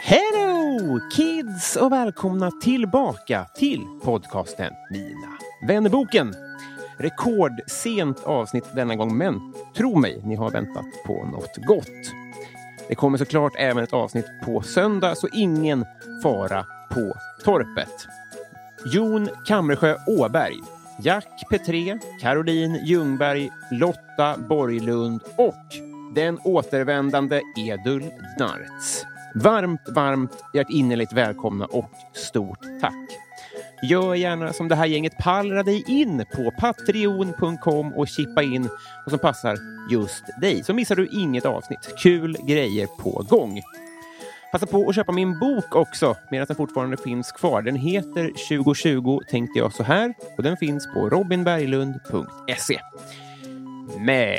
Hello kids och välkomna tillbaka till podcasten Mina vännerboken. Rekordsent avsnitt denna gång, men tro mig, ni har väntat på något gott. Det kommer såklart även ett avsnitt på söndag, så ingen fara på torpet. Jon Kammersjö Åberg, Jack Petré, Caroline Ljungberg, Lotta Borglund och den återvändande Edul Narts. Varmt, varmt, hjärtinnerligt välkomna och stort tack. Gör gärna som det här gänget, pallra dig in på patreon.com och chippa in vad som passar just dig, så missar du inget avsnitt. Kul grejer på gång. Passa på att köpa min bok också medan den fortfarande finns kvar. Den heter 2020 tänkte jag så här och den finns på robinberglund.se. Men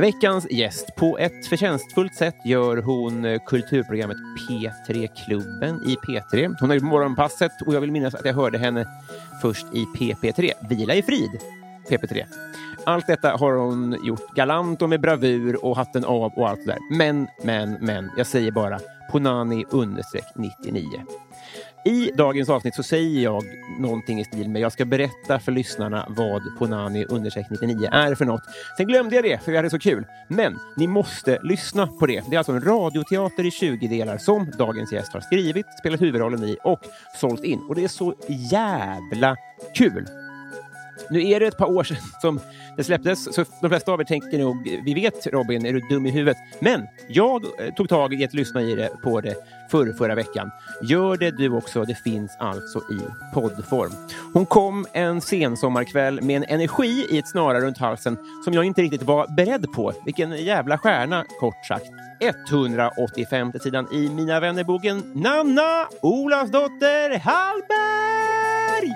veckans gäst, på ett förtjänstfullt sätt gör hon eh, kulturprogrammet P3-klubben i P3. Hon har gjort morgonpasset och jag vill minnas att jag hörde henne först i PP3. Vila i frid, PP3. Allt detta har hon gjort galant och med bravur och hatten av och allt det där. Men, men, men, jag säger bara Ponani understreck 99. I dagens avsnitt så säger jag någonting i stil med jag ska berätta för lyssnarna vad Ponani undersökning 99 är för något. Sen glömde jag det, för vi hade så kul. Men ni måste lyssna på det. Det är alltså en radioteater i 20 delar som dagens gäst har skrivit, spelat huvudrollen i och sålt in. Och det är så jävla kul! Nu är det ett par år sedan som det släpptes, så de flesta av er tänker nog, vi vet Robin, är du dum i huvudet? Men jag eh, tog tag i att lyssna i det, på det förr, förra veckan. Gör det du också, det finns alltså i poddform. Hon kom en sensommarkväll med en energi i ett snara runt halsen som jag inte riktigt var beredd på. Vilken jävla stjärna, kort sagt. 185 sidan i Mina vännerboken Nanna Olafsdotter Hallberg!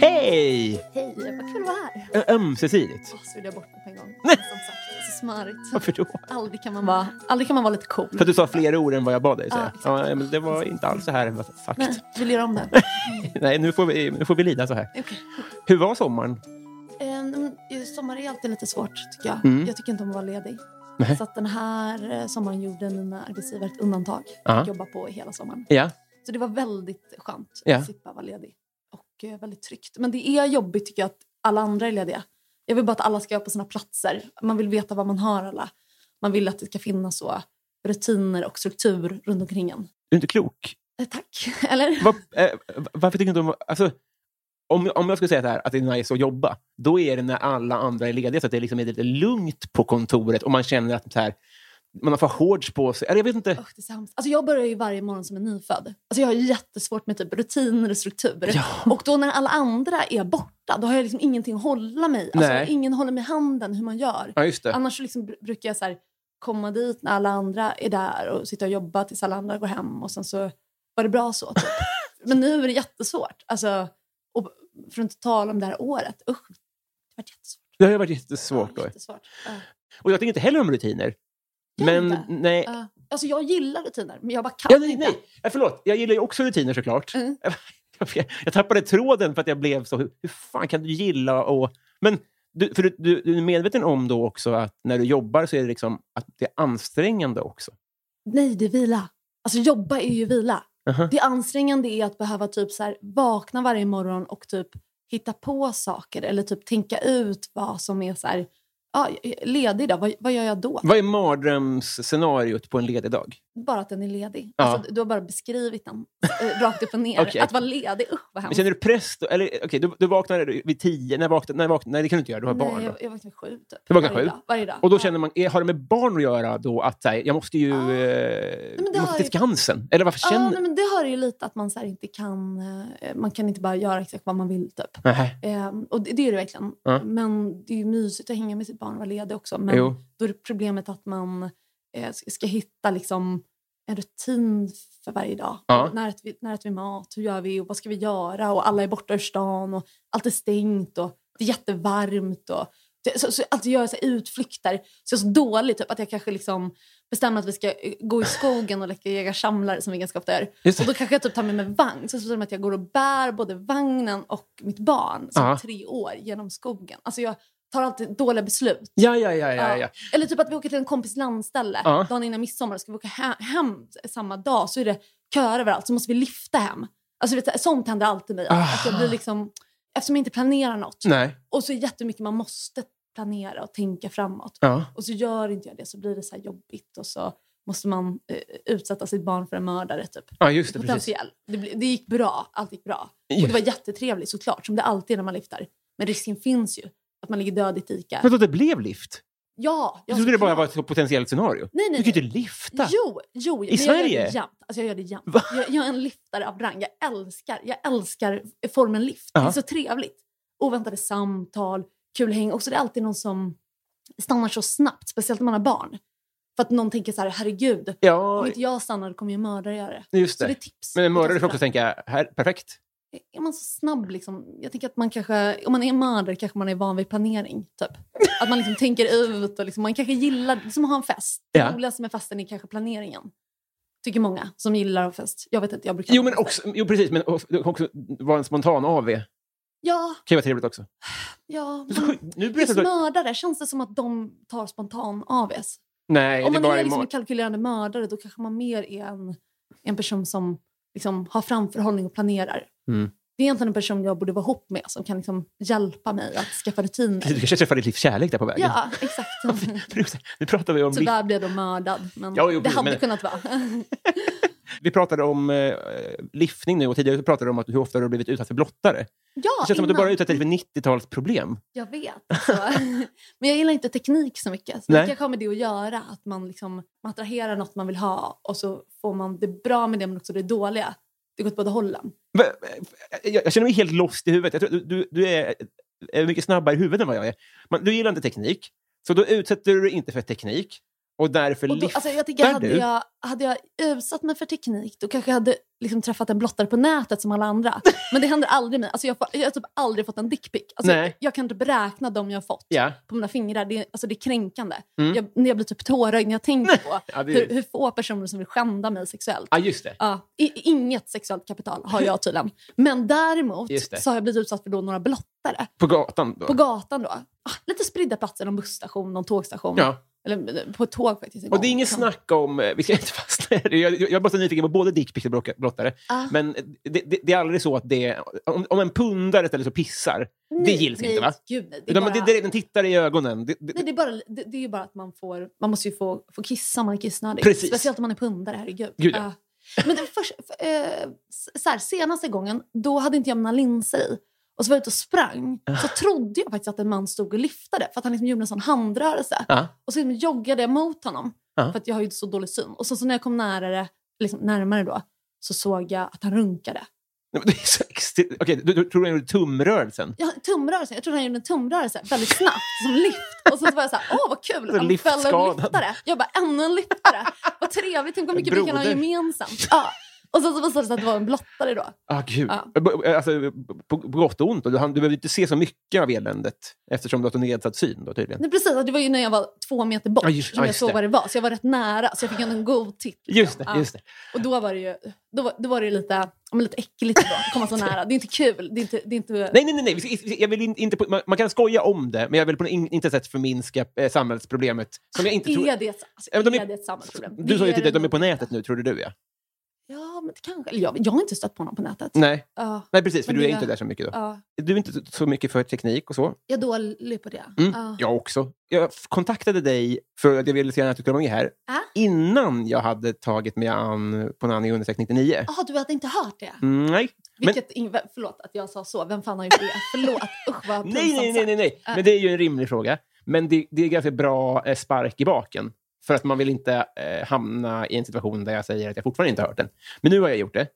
Hej! Hej, vad kul att vara här. Ö- Ömsesidigt. Åh, så gjorde jag bort mig på en gång. Som sagt, så smarrigt. Varför då? Aldrig kan man vara, aldrig kan man vara lite cool. För att du sa fler ord än vad jag bad dig säga. exakt. Ja, men det var inte alls så här det var sagt. Nej, vill du göra om det? Nej, nu får, vi, nu får vi lida så här. Okej. Hur var sommaren? Ehm, eh, sommar är alltid lite svårt, tycker jag. Mm. Jag tycker inte om att vara ledig. Nej. Så att den här eh, sommaren gjorde mina arbetsgivare ett undantag. Ja. Jag jobba på hela sommaren. Ja. Så det var väldigt skönt Ja. att slippa vara ledig. Och eh, väldigt tryggt. Men det är jobbigt tycker jag att alla andra är lediga. Jag vill bara att alla ska vara på sina platser. Man vill veta vad man har alla. Man vill att det ska finnas så rutiner och struktur runt omkring en. Du är inte klok. Eh, Tack. Eller? Var, eh, varför tycker du inte om... Alltså, om, om jag skulle säga så här, att det är nice att jobba, då är det när alla andra är lediga, så att det liksom är lite lugnt på kontoret och man känner att så här, man har för hårds på sig. Eller Jag vet inte. Usch, det är så hemskt. Alltså jag börjar ju varje morgon som en nyfödd. Alltså jag har jättesvårt med typ rutiner och struktur. Och då när alla andra är borta, då har jag liksom ingenting att hålla mig i. Alltså Nej. ingen håller mig i handen hur man gör. Ja, just det. Annars så liksom br- brukar jag så här komma dit när alla andra är där och sitta och jobba tills alla andra går hem. Och sen så var det bra så. Typ. Men nu är det jättesvårt. Alltså, och för att inte tala om det här året. Usch, det har varit jättesvårt. Det har ju varit jättesvårt. Då. jättesvårt. Ja. Och jag tänker inte heller om rutiner. Gör Men inte? nej. Ja. Alltså jag gillar rutiner, men jag bara kan Ja, nej, inte. nej. Ja, Eh, förlåt, jag gillar ju också rutiner såklart. Mm. Jag, jag tappade tråden för att jag blev så... Hur, hur fan kan du gilla och... Men du, för du, du, du är medveten om då också att när du jobbar så är det liksom att det är ansträngande också. Nej, det är vila. Alltså jobba är ju vila. Aha. Det ansträngande är att behöva typ så här, vakna varje morgon och typ hitta på saker eller typ tänka ut vad som är så här, ja, ledig då. Vad, vad gör jag då? Vad är mardrömsscenariot på en ledig dag? Bara att den är ledig. Ja. Alltså, du har bara beskrivit den eh, rakt upp och ner. Okej. Att vara ledig, usch vad Men hemskt. känner du press då? Eller okej, du, du vaknar vid tio. När vaknar, när vaknar, nej, det kan du inte göra. Du har barn. Nej, Då. jag, jag vaknar sju typ. Du vaknar varje sju? Dag, varje dag. Och då Ja. känner man, är, har det med barn att göra då att så här, jag måste ju... Ah. Eh, men måste det har till ju- Skansen? Eller varför Ja, känner... nej, men det hör ju lite att man så här, inte kan, eh, man kan inte bara göra exakt vad man vill typ. Nej. Ehm, och det, det är det verkligen. Ja. Men det är ju mysigt att hänga med sitt barn och vara ledig också. Men Jo. då är det problemet att man eh, s- ska hitta liksom en rutin för varje dag. Ja. När, äter vi, när äter vi mat? Hur gör vi? Och vad ska vi göra? Och alla är borta ur stan och allt är stängt och det är jättevarmt. Och det, så, så, alltid gör jag så här utflykter. Så jag är så dålig typ, att jag kanske liksom bestämmer att vi ska eh, gå i skogen och leka jägarsamlare som vi ganska ofta gör. Just det. Och då kanske jag typ tar med mig vagn. Så slutar det med att jag går och bär både vagnen och mitt barn som Ja. är tre år genom skogen. Alltså jag tar alltid dåliga beslut. Ja, ja, ja, ja, Ja. ja. Eller typ att vi åker till en kompis landställe Ja. dagen innan midsommar och ska vi åka he- hem samma dag så är det köer överallt så måste vi lyfta hem. Alltså vet, du, sånt händer alltid mig. Ah. Att jag blir liksom, eftersom jag inte planerar något Nej. och så är det jättemycket man måste planera och tänka framåt Ja. och så gör inte jag det så blir det så här jobbigt och så måste man eh, utsätta sitt barn för en mördare typ. ja, just det. Precis. Potentiell. Det, bli- det gick bra. Allt gick bra. Och Just. det var jättetrevligt såklart, som det alltid är när man lyftar. Men risken finns ju att man ligger död i ett dike. Men då det blev lift? Ja, Jag trodde det bara såklart. var ett potentiellt scenario. Nej, nej, Du kan ju inte lifta. Jo, jo. men Jag gör Sverige? det jämt. Alltså jag gör det jämt. Va? Jag, jag är en liftare av rang. Jag älskar, jag älskar formen lift. Det Ja. är så trevligt. Oväntade samtal, kul häng. Och så är det alltid någon som stannar så snabbt, speciellt när man har barn. För att någon tänker så här, herregud, om Ja, inte jag stannar kommer ju en mördare göra det. just Så det är det. tips. Men en mördare kan Det tar sig också tänka, här, perfekt. är man så snabb liksom, jag tänker att man kanske, om man är mördare kanske man är van vid planering. Typ. Att man liksom tänker ut och liksom, man kanske gillar, det är som att ha en fest. Ja. Det roligaste med festen är kanske planeringen. Tycker många som gillar att ha fest. Jag vet inte, jag brukar Jo, men fester. också, jo precis. Men och- det kan också vara en spontan AV. kan Ja, ju vara trevligt också. ja. Så sjukt. Nu blir Just jag så... mördare, känns det som att de tar spontan AWs? Nej, Om det är man är bara liksom en imorgon. kalkylerande mördare då kanske man mer är en, en person som liksom har framförhållning och planerar. Mm. Det är egentligen en person jag borde vara ihop med som kan liksom hjälpa mig att skaffa rutiner. Du kanske träffar ditt livs kärlek där på vägen. Ja, exakt. Nu pratar vi om... lift. Tyvärr blev de mördad, men Ja, jo, det precis, hade men- kunnat vara. Vi pratade om eh, liftning nu och tidigare så pratade du om att hur ofta du har blivit utsatt för blottare. Ja, Det känns som att du bara är innan. utsatt för 90-talsproblem. Jag vet. Så. Men jag gillar inte teknik så mycket. Så Nej. det kanske har med det att göra, att man, liksom, man attraherar något man vill ha och så får man det bra med det men också det dåliga. Det går åt båda hållen. Va- eh, Jag, jag känner mig helt lost i huvudet. Jag tror, du- du, du är, är mycket snabbare i huvudet än vad jag är. Men du gillar inte teknik, så då utsätter du dig inte för teknik. Och därför Och då, alltså, jag tänker, liftar hade, du. jag, hade jag utsatt mig för teknik då kanske jag hade liksom träffat en blottare på nätet som alla andra. Men det händer aldrig mig. Alltså, jag, får, jag har typ aldrig fått en dickpic. Alltså, Nej. jag kan inte beräkna dem jag har fått. Ja. på mina fingrar. Det är, alltså det är kränkande. Mm. Jag, när jag blir typ tårögd när jag tänker på Ja, det är- hur, hur få personer som vill skända mig sexuellt. ja, just det. Ja, i, inget sexuellt kapital har jag tydligen. Men däremot Just det. så har jag blivit utsatt för då några blottare På gatan då. på gatan. då. Ah, lite spridda platser, någon busstation, någon tågstation. Ja. Eller eh, på ett tåg faktiskt. en Och gång. det är inget Ja. snack om... eh, Vi ska inte fastna i det. Jag, jag är bara så nyfiken på både dickpics och block- blottare. Ah. Men det, det, det är aldrig så att det... Om, om en pundare ställer sig och pissar, det Nej, gills nej, inte va? Gud, nej, det, är Utan bara, man- det, det, den tittar i ögonen. Det, det, nej, det, är bara, det, det är bara att man får... Man måste ju få, få kissa om man är kissnödig. Precis. Speciellt om man är pundare, herregud. Gud, ja. Ah. Men det först, för, eh, s- så här, senaste gången, då hade inte jag mina linser i. Och så var jag ute och sprang. Ah. Så trodde jag faktiskt att en man stod och lyftade för att han liksom gjorde en sån handrörelse. Ja. Och så liksom joggade jag mot honom. Ja. För att jag har ju så dålig syn. Och så, så när jag kom närmare, liksom närmare då, så såg jag att han runkade. Nej, men det är så extremt. Okej, du, du tror du gjorde tumrörelsen? Ja, tumrörelsen. Jag trodde han gjorde en tumrörelse väldigt snabbt, som lift. Och sen så var jag så här, åh vad kul! Så Han föll en liftskadad. lyftare. Jag bara, ännu en lyftare! Vad trevligt, tänk vad mycket vi kan ha Broder. gemensamt. Ja. Och sen så visade det sig att det var en blottare då. Ah, gud. Ja. B- Alltså, på, på gott och ont. då. Du, han, du behöver inte se så mycket av eländet eftersom du har så nedsatt syn då, tydligen. Nej, precis, det var ju när jag var två meter bort Ja, just- som ja, jag just såg det. vad det var. Så jag var rätt nära, så jag fick ändå en god titt. Just det, Ja. just det. Och då var det ju då var, då var det ju lite, ja, men lite äckligt då, att komma så nära. Det är inte kul. Det är inte, det är inte, Nej, nej, nej. nej. Vi- vi- Jag vill in- inte, på- man, man kan skoja om det, men jag vill på in- inte sätt förminska eh, samhällsproblemet. Som jag inte tror, är, det, ett- alltså, Ja, är, men de är- det ett samhällsproblem? du sa ju Det tidigare att de är nog. på nätet nu, trodde du ja. Ja, men det kanske. Eller jag, jag har inte stött på någon på nätet. Nej, Ja, nej precis, för Men du är det- inte där så mycket då. ja. Du är inte så- så mycket för teknik och så. Jag är dålig på det. Mm. Ja. Jag också. Jag f- kontaktade dig för att jag ville se gärna att du skulle vara med här. Ja. Innan jag hade tagit mig an på Nanny Undersök 99. Jaha, du hade inte hört det? Mm, nej. Men- Vilket, in- förlåt att jag sa så. Vem fan har gjort det? Förlåt. Usch, vad pinsamt Nej, nej, nej, sagt. nej, nej. Ja. Men det är ju en rimlig fråga. Men det, det är ganska bra eh, spark i baken. För att man vill inte eh, hamna i en situation där jag säger att jag fortfarande inte har hört den. Men nu har jag gjort det.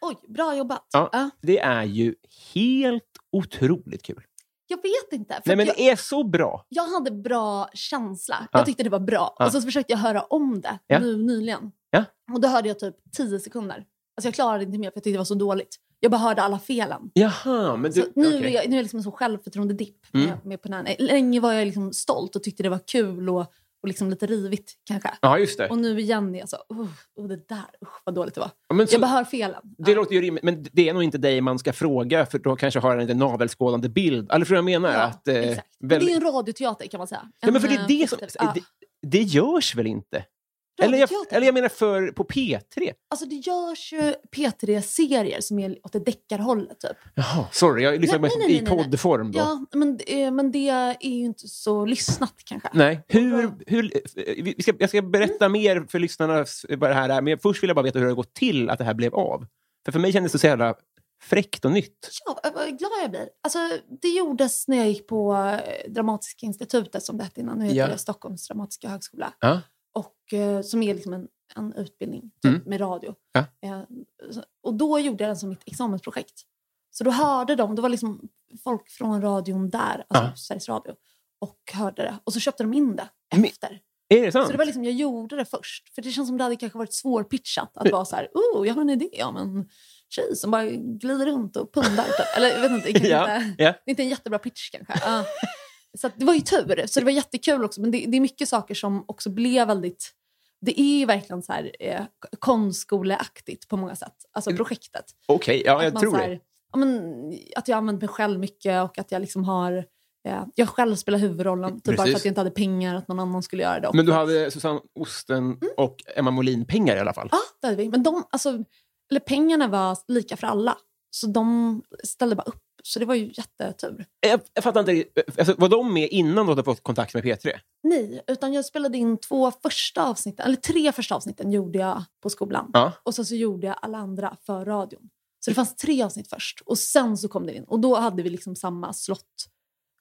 Oj, bra jobbat. Ja. Ja. Det är ju helt otroligt kul. Jag vet inte. För Nej, att men jag, det är så bra. jag hade bra känsla. Ja. Jag tyckte det var bra. Ja. Och så försökte jag höra om det Ja. nu nyligen. Ja. Och då hörde jag typ 10 sekunder. Alltså jag klarade inte mer för jag tyckte det var så dåligt. Jag bara hörde alla felen. Jaha, men Så du... nu, är okej. jag, nu är jag liksom en sån självförtroende-dipp Mm. med, med på Nanny. Länge var jag liksom stolt och tyckte det var kul och, och liksom lite rivigt kanske. Ja, just det. Och nu igen är jag så, uh, uh, det där, usch vad dåligt det var. Ja, men så, Jag bara hör felen. det Ja. låter ju rimligt, men det är nog inte dig man ska fråga för då kanske har en lite navelskådande bild. Eller tror jag menar? Ja, att, eh, exakt. Men väldigt- Det är en radioteater kan man säga. Ja, men för det En, är det som... eh, ja. Det, det görs väl inte? Eller jag, Radioteater. eller jag menar för, på P3. Alltså det görs ju P3-serier som är åt det deckarhållet typ. Jaha, sorry. Jag lyssnar Nej, mest nej, nej, i nej, nej. poddform då. Ja, men, eh, men det är ju inte så lyssnat kanske. Nej. Hur, hur, eh, vi ska, jag ska berätta mer för lyssnarna s- vad det här är, men först vill jag bara veta hur det har gått till att det här blev av. För, för mig kändes det så jävla fräckt och nytt. Ja, eh, vad glad jag blir. Alltså, det gjordes när jag gick på eh, Dramatiska institutet som det hette innan. Nu heter Ja. det Stockholms dramatiska högskola. Ja. Och, eh, som är liksom en, en utbildning typ, Mm. med radio. Ja. Eh, så- och då gjorde jag den som mitt examensprojekt. Så då hörde de, det var liksom folk från radion där, alltså Ja. Sveriges Radio, och hörde det. Och så köpte de in det Men- efter. Är det sant? Så det var liksom, jag gjorde det först. För det känns som det hade kanske varit svårpitchat att vara så här, oh, jag har en idé om en tjej som bara glider runt och pundar. typ." Eller jag vet inte, det kanske Ja, inte, ja. det är inte en jättebra pitch kanske. Ja. Så att det var ju tur. Så det var jättekul också. Men det, det är mycket saker som också blev väldigt... Det är ju verkligen så här eh, konstskoleaktigt på många sätt. Alltså projektet. Okej, Mm. ja, Att jag man tror så här, det. Ja, men, att jag har använt mig själv mycket och att jag liksom har... Eh, jag själv spelar huvudrollen. Typ bara för Precis. att jag inte hade pengar, att någon annan skulle göra det. Och Men du hade Susanne Osten och Emma Molin-pengar i alla fall? Mm. Ja, det hade vi. Men de, alltså, eller pengarna var lika för alla. Så de ställde bara upp. Så det var ju jättetur. Jag, jag fattar inte. riktigt. Alltså, var de med innan du hade fått kontakt med P3? Nej, utan jag spelade in två första avsnitten, eller tre första avsnitten gjorde jag på skolan. Ja. Och sen så gjorde jag alla andra för radion. Så det fanns tre avsnitt först och sen så kom det in. Och då hade vi liksom samma slott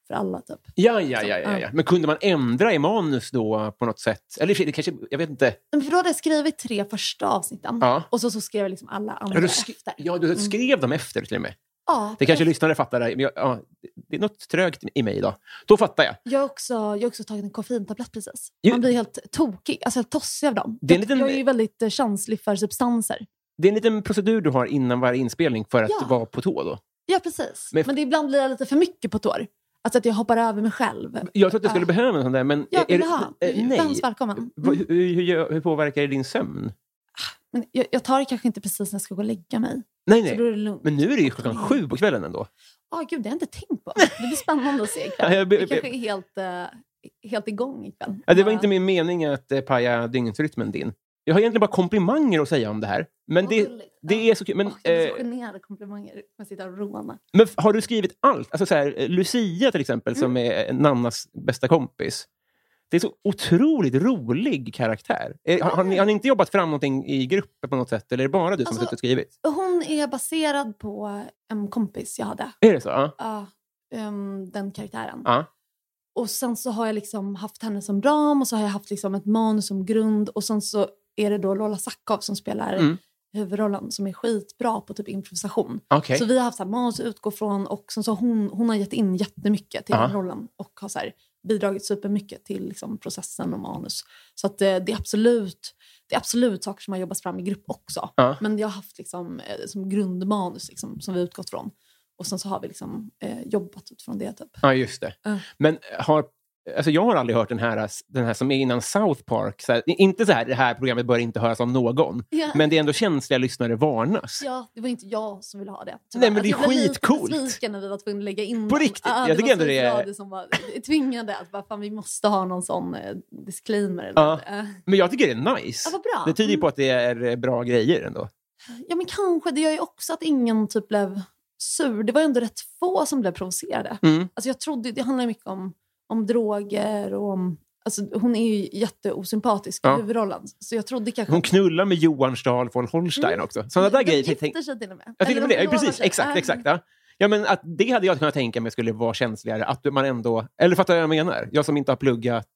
för alla typ. Ja, ja, ja, ja, Ja. ja. Men kunde man ändra i manus då på något sätt? Eller i och för sig, det kanske, jag vet inte. Men För då hade jag skrivit tre första avsnitten Ja. och så, så skrev jag liksom alla Ja, andra du, sk- efter. Mm. ja, du skrev dem efter till och med. Ja, Det kanske lyssnare fattar. Det, men jag, ja, det är något trögt i mig idag. Då fattar jag. Jag har också, jag har också tagit en koffeintablett precis. Ju- Man blir helt tokig, alltså helt tossig av dem. Det är en Jag- liten- Jag är ju väldigt eh, känslig för substanser. Det är en liten procedur du har innan varje inspelning för att Ja. vara på tå. Då. Ja, precis. Men- Men, det ibland blir jag lite för mycket på tår. Alltså att jag hoppar över mig själv. Jag tror att jag Ja. skulle behöva en sån där, men... Jag är vill det- ha. eh, Varmt nej. välkommen. Vad- Hur, hur, gör- hur påverkar det din sömn? Mm. Men jag, jag tar det kanske inte precis när jag ska gå och lägga mig. Nej, Så nej. då är det lugnt. Men nu är det ju klockan sju på kvällen ändå. Ah, gud, det har jag inte tänkt på. Det blir spännande att se ikväll. Jag be- Jag kanske be- är helt, eh, helt igång ikväll. Ja, det var inte min mening att eh, paja dygnsrytmen din. Jag har egentligen bara komplimanger att säga om det här. Men Vad det, gulligt. det Ja. är så kul. Men, Åh, jag blir så eh, generad komplimanger. Jag kommer sitta och råna. Men f- har du skrivit allt? Alltså så här, eh, Lucia till exempel, som är Mm. eh, Nannas bästa kompis. Det är så otroligt rolig karaktär. Eh, Har, har, ni, har ni inte jobbat fram någonting i gruppen på något sätt? Eller är det bara du som Alltså- har suttit och skrivit? Och Hon är baserad på en kompis jag hade. Är det så? Ja. Ja, ehm, den karaktären. Ja. Och sen så har jag liksom haft henne som ram och så har jag haft liksom ett manus som grund och sen så är det då Lola Sackhoff som spelar Mm. huvudrollen som är skitbra på typ improvisation. Okej. Så vi har haft så här manus att utgå från och sen så har hon, hon har gett in jättemycket till Ja. den rollen och har så här bidragit supermycket till liksom processen och manus. Så att eh, det, det, är absolut, det är absolut saker som har jobbats fram i grupp också. Ja. Men jag har haft liksom, eh, som grundmanus liksom, som vi har utgått från. Och sen så har vi liksom, eh, jobbat utifrån det. Typ. Ja, just det. Ja. Men har, alltså jag har aldrig hört den här, den här som är innan South Park. Så här, inte så här, det här programmet bör inte höras av någon. Ja. Men det är ändå känsliga lyssnare varnas. Ja, det var inte jag som ville ha det. Alltså, Nej, men det är jag blev skitcoolt. lite besviken när vi var tvungna att lägga in På dem. riktigt? Ja, Jag det tycker var ändå det är- Sveriges Radio som var tvingade att bara, fan, vi måste ha någon sån eh, disclaimer. Eller Ja. något. Eh, Men jag tycker det är nice. Ja, vad bra. Mm. Det tyder ju på att det är eh, bra grejer ändå. Ja, men kanske. Det gör ju också att ingen typ blev sur. Det var ju ändå rätt få som blev provocerade. Mm. Alltså, jag trodde, det handlar ju mycket om, om droger och om... Alltså, hon är ju jätteosympatisk Ja. i huvudrollen. Så jag trodde kanske... Hon knullar med Johan Stahl von Holstein Mm. också. Sådana där de grejer. gifter Tänk, sig till och med. jag till och Eller med de det. Ja, förlovar precis, sig. exakt. Ja. exakt ja. Ja, men att det hade jag kunnat tänka mig skulle vara känsligare. Att man ändå... Eller fattar jag vad jag menar? Jag som inte har pluggat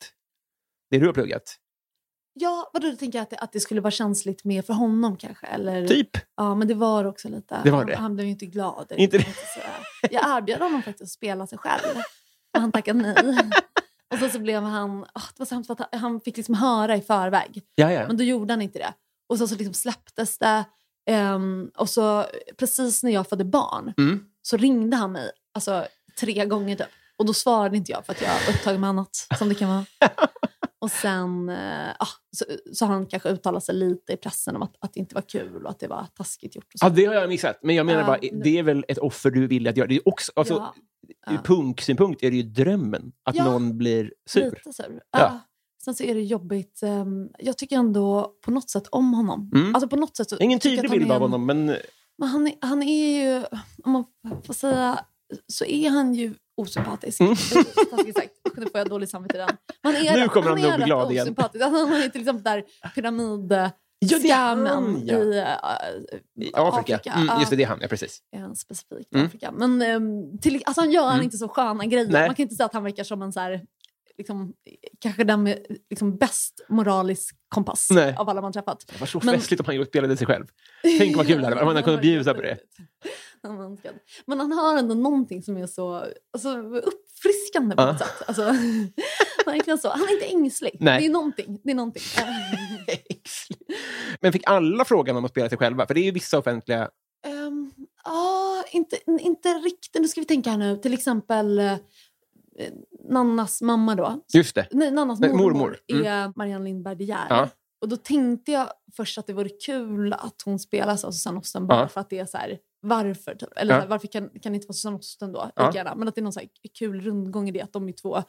det du har pluggat. Ja, vadå, du tänker att det, att det skulle vara känsligt mer för honom kanske? Eller? Typ. Ja, men det var också lite. Det var det. Han, han blev ju inte glad. eller Inte det. något sådär. Jag erbjöd honom faktiskt att spela sig själv, men han tackade nej. Och sen så blev han... åh, det var så hemskt för att han- han fick liksom höra i förväg, Ja, ja. men då gjorde han inte det. Och sen så liksom släpptes det. ehm, och så precis när jag födde barn Mm. så ringde han mig alltså, tre gånger typ. Och då svarade inte jag för att jag var upptagen med annat, som det kan vara. Och sen eh, ah, så, så har han kanske uttalat sig lite i pressen om att, att det inte var kul och att det var taskigt gjort. Och så. Ja, det har jag missat. Men jag menar Ja, bara, men- det är väl ett offer du vill att göra? Det är också, alltså, Ja, Ur Ja. punksynpunkt är det ju drömmen att Ja. någon blir sur. Lite sur. Ja. Ja. Sen så är det jobbigt. ehm, jag tycker ändå på något sätt om honom. Mm. Alltså på något sätt så Ingen tycker jag tydlig att han bild är av en- honom, men Men han, är- han är ju, om man får säga, så är han ju osympatisk. Alltså, Mm. Taskigt sagt. Usch, Nu får jag dåligt samvete redan. Men han är, Nu kommer han är nog bli rätt glad igen. osympatisk. Alltså, han är till exempel där Ja, det är han, pyramidskammen ja. i eh, i Afrika. Mm, ja. just det, det är han. Ja, precis. Eh, specifikt Mm. Afrika. Men ehm, till, alltså, han gör han Mm. inte så sköna grejer. Nej. Man kan inte säga att han verkar som en så här, liksom, kanske den med liksom, bäst moralisk kompass Nej. av alla man träffat. Det var så Men- festligt om han spelade sig själv. Tänk vad kul det hade varit om han hade kunnat bjuda på det. Han önskade. Men han har ändå någonting som är så alltså, uppfriskande på Ja. något sätt. Alltså, verkligen så. Han är inte ängslig. Nej. Det är någonting. Det är någonting. Men fick alla frågan om att spela sig själva? För det är ju vissa offentliga... Ehm, Ja, inte, inte riktigt. Nu ska vi tänka här nu. Till exempel eh, Nannas mamma då. Just det. Nej, Nannas Nej, mormor, mormor. Mm. är Marianne Lindberg De Geer. Ja. Och då tänkte jag först att det vore kul att hon spelas av Susanne Osten bara Ja. för att det är så här, varför? Typ. Eller Ja. så här, varför kan, kan det inte vara Susanne Osten då? Ja. Lika gärna. Men att det är någon så här kul rundgång i det att de är två,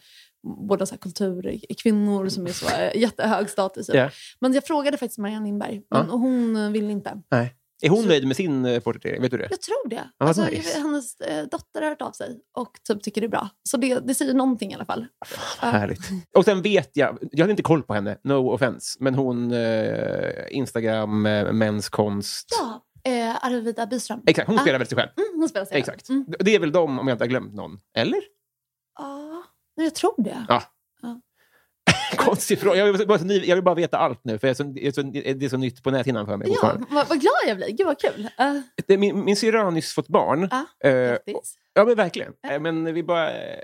båda så här kulturkvinnor som är så eh, jättehög status. Typ. Ja. Men jag frågade faktiskt Marianne Lindberg, men hon eh, ville inte. Är hon Så- nöjd med sin eh, porträttering? Vet du det? Jag tror det. Ja, alltså, nice. jag- Hennes eh, dotter har hört av sig och typ tycker det är bra. Så det, det säger någonting i alla fall. Ja. Härligt. Och sen vet jag, jag hade inte koll på henne, no offense, men hon eh, Instagram, eh, menskonst. Ja, eh, Arvida Byström. Exakt, hon Ah. spelar väl sig själv. Mm, hon spelar sig. Exakt. Mm. Det är väl de, om jag inte har glömt någon. Eller? Ja, nej, jag tror det. Konstig fråga. Jag vill, bara, så ny- jag vill bara veta allt nu, för jag är så, jag är så, det är så nytt på näthinnan för mig. Ja, fortfarande. vad, vad glad jag blir. Gud vad kul. Eh, Det- Min, min syrra har nyss fått barn. Ja, Eh, grattis. ja, men verkligen. Ja. Eh, Men vi bara... eh,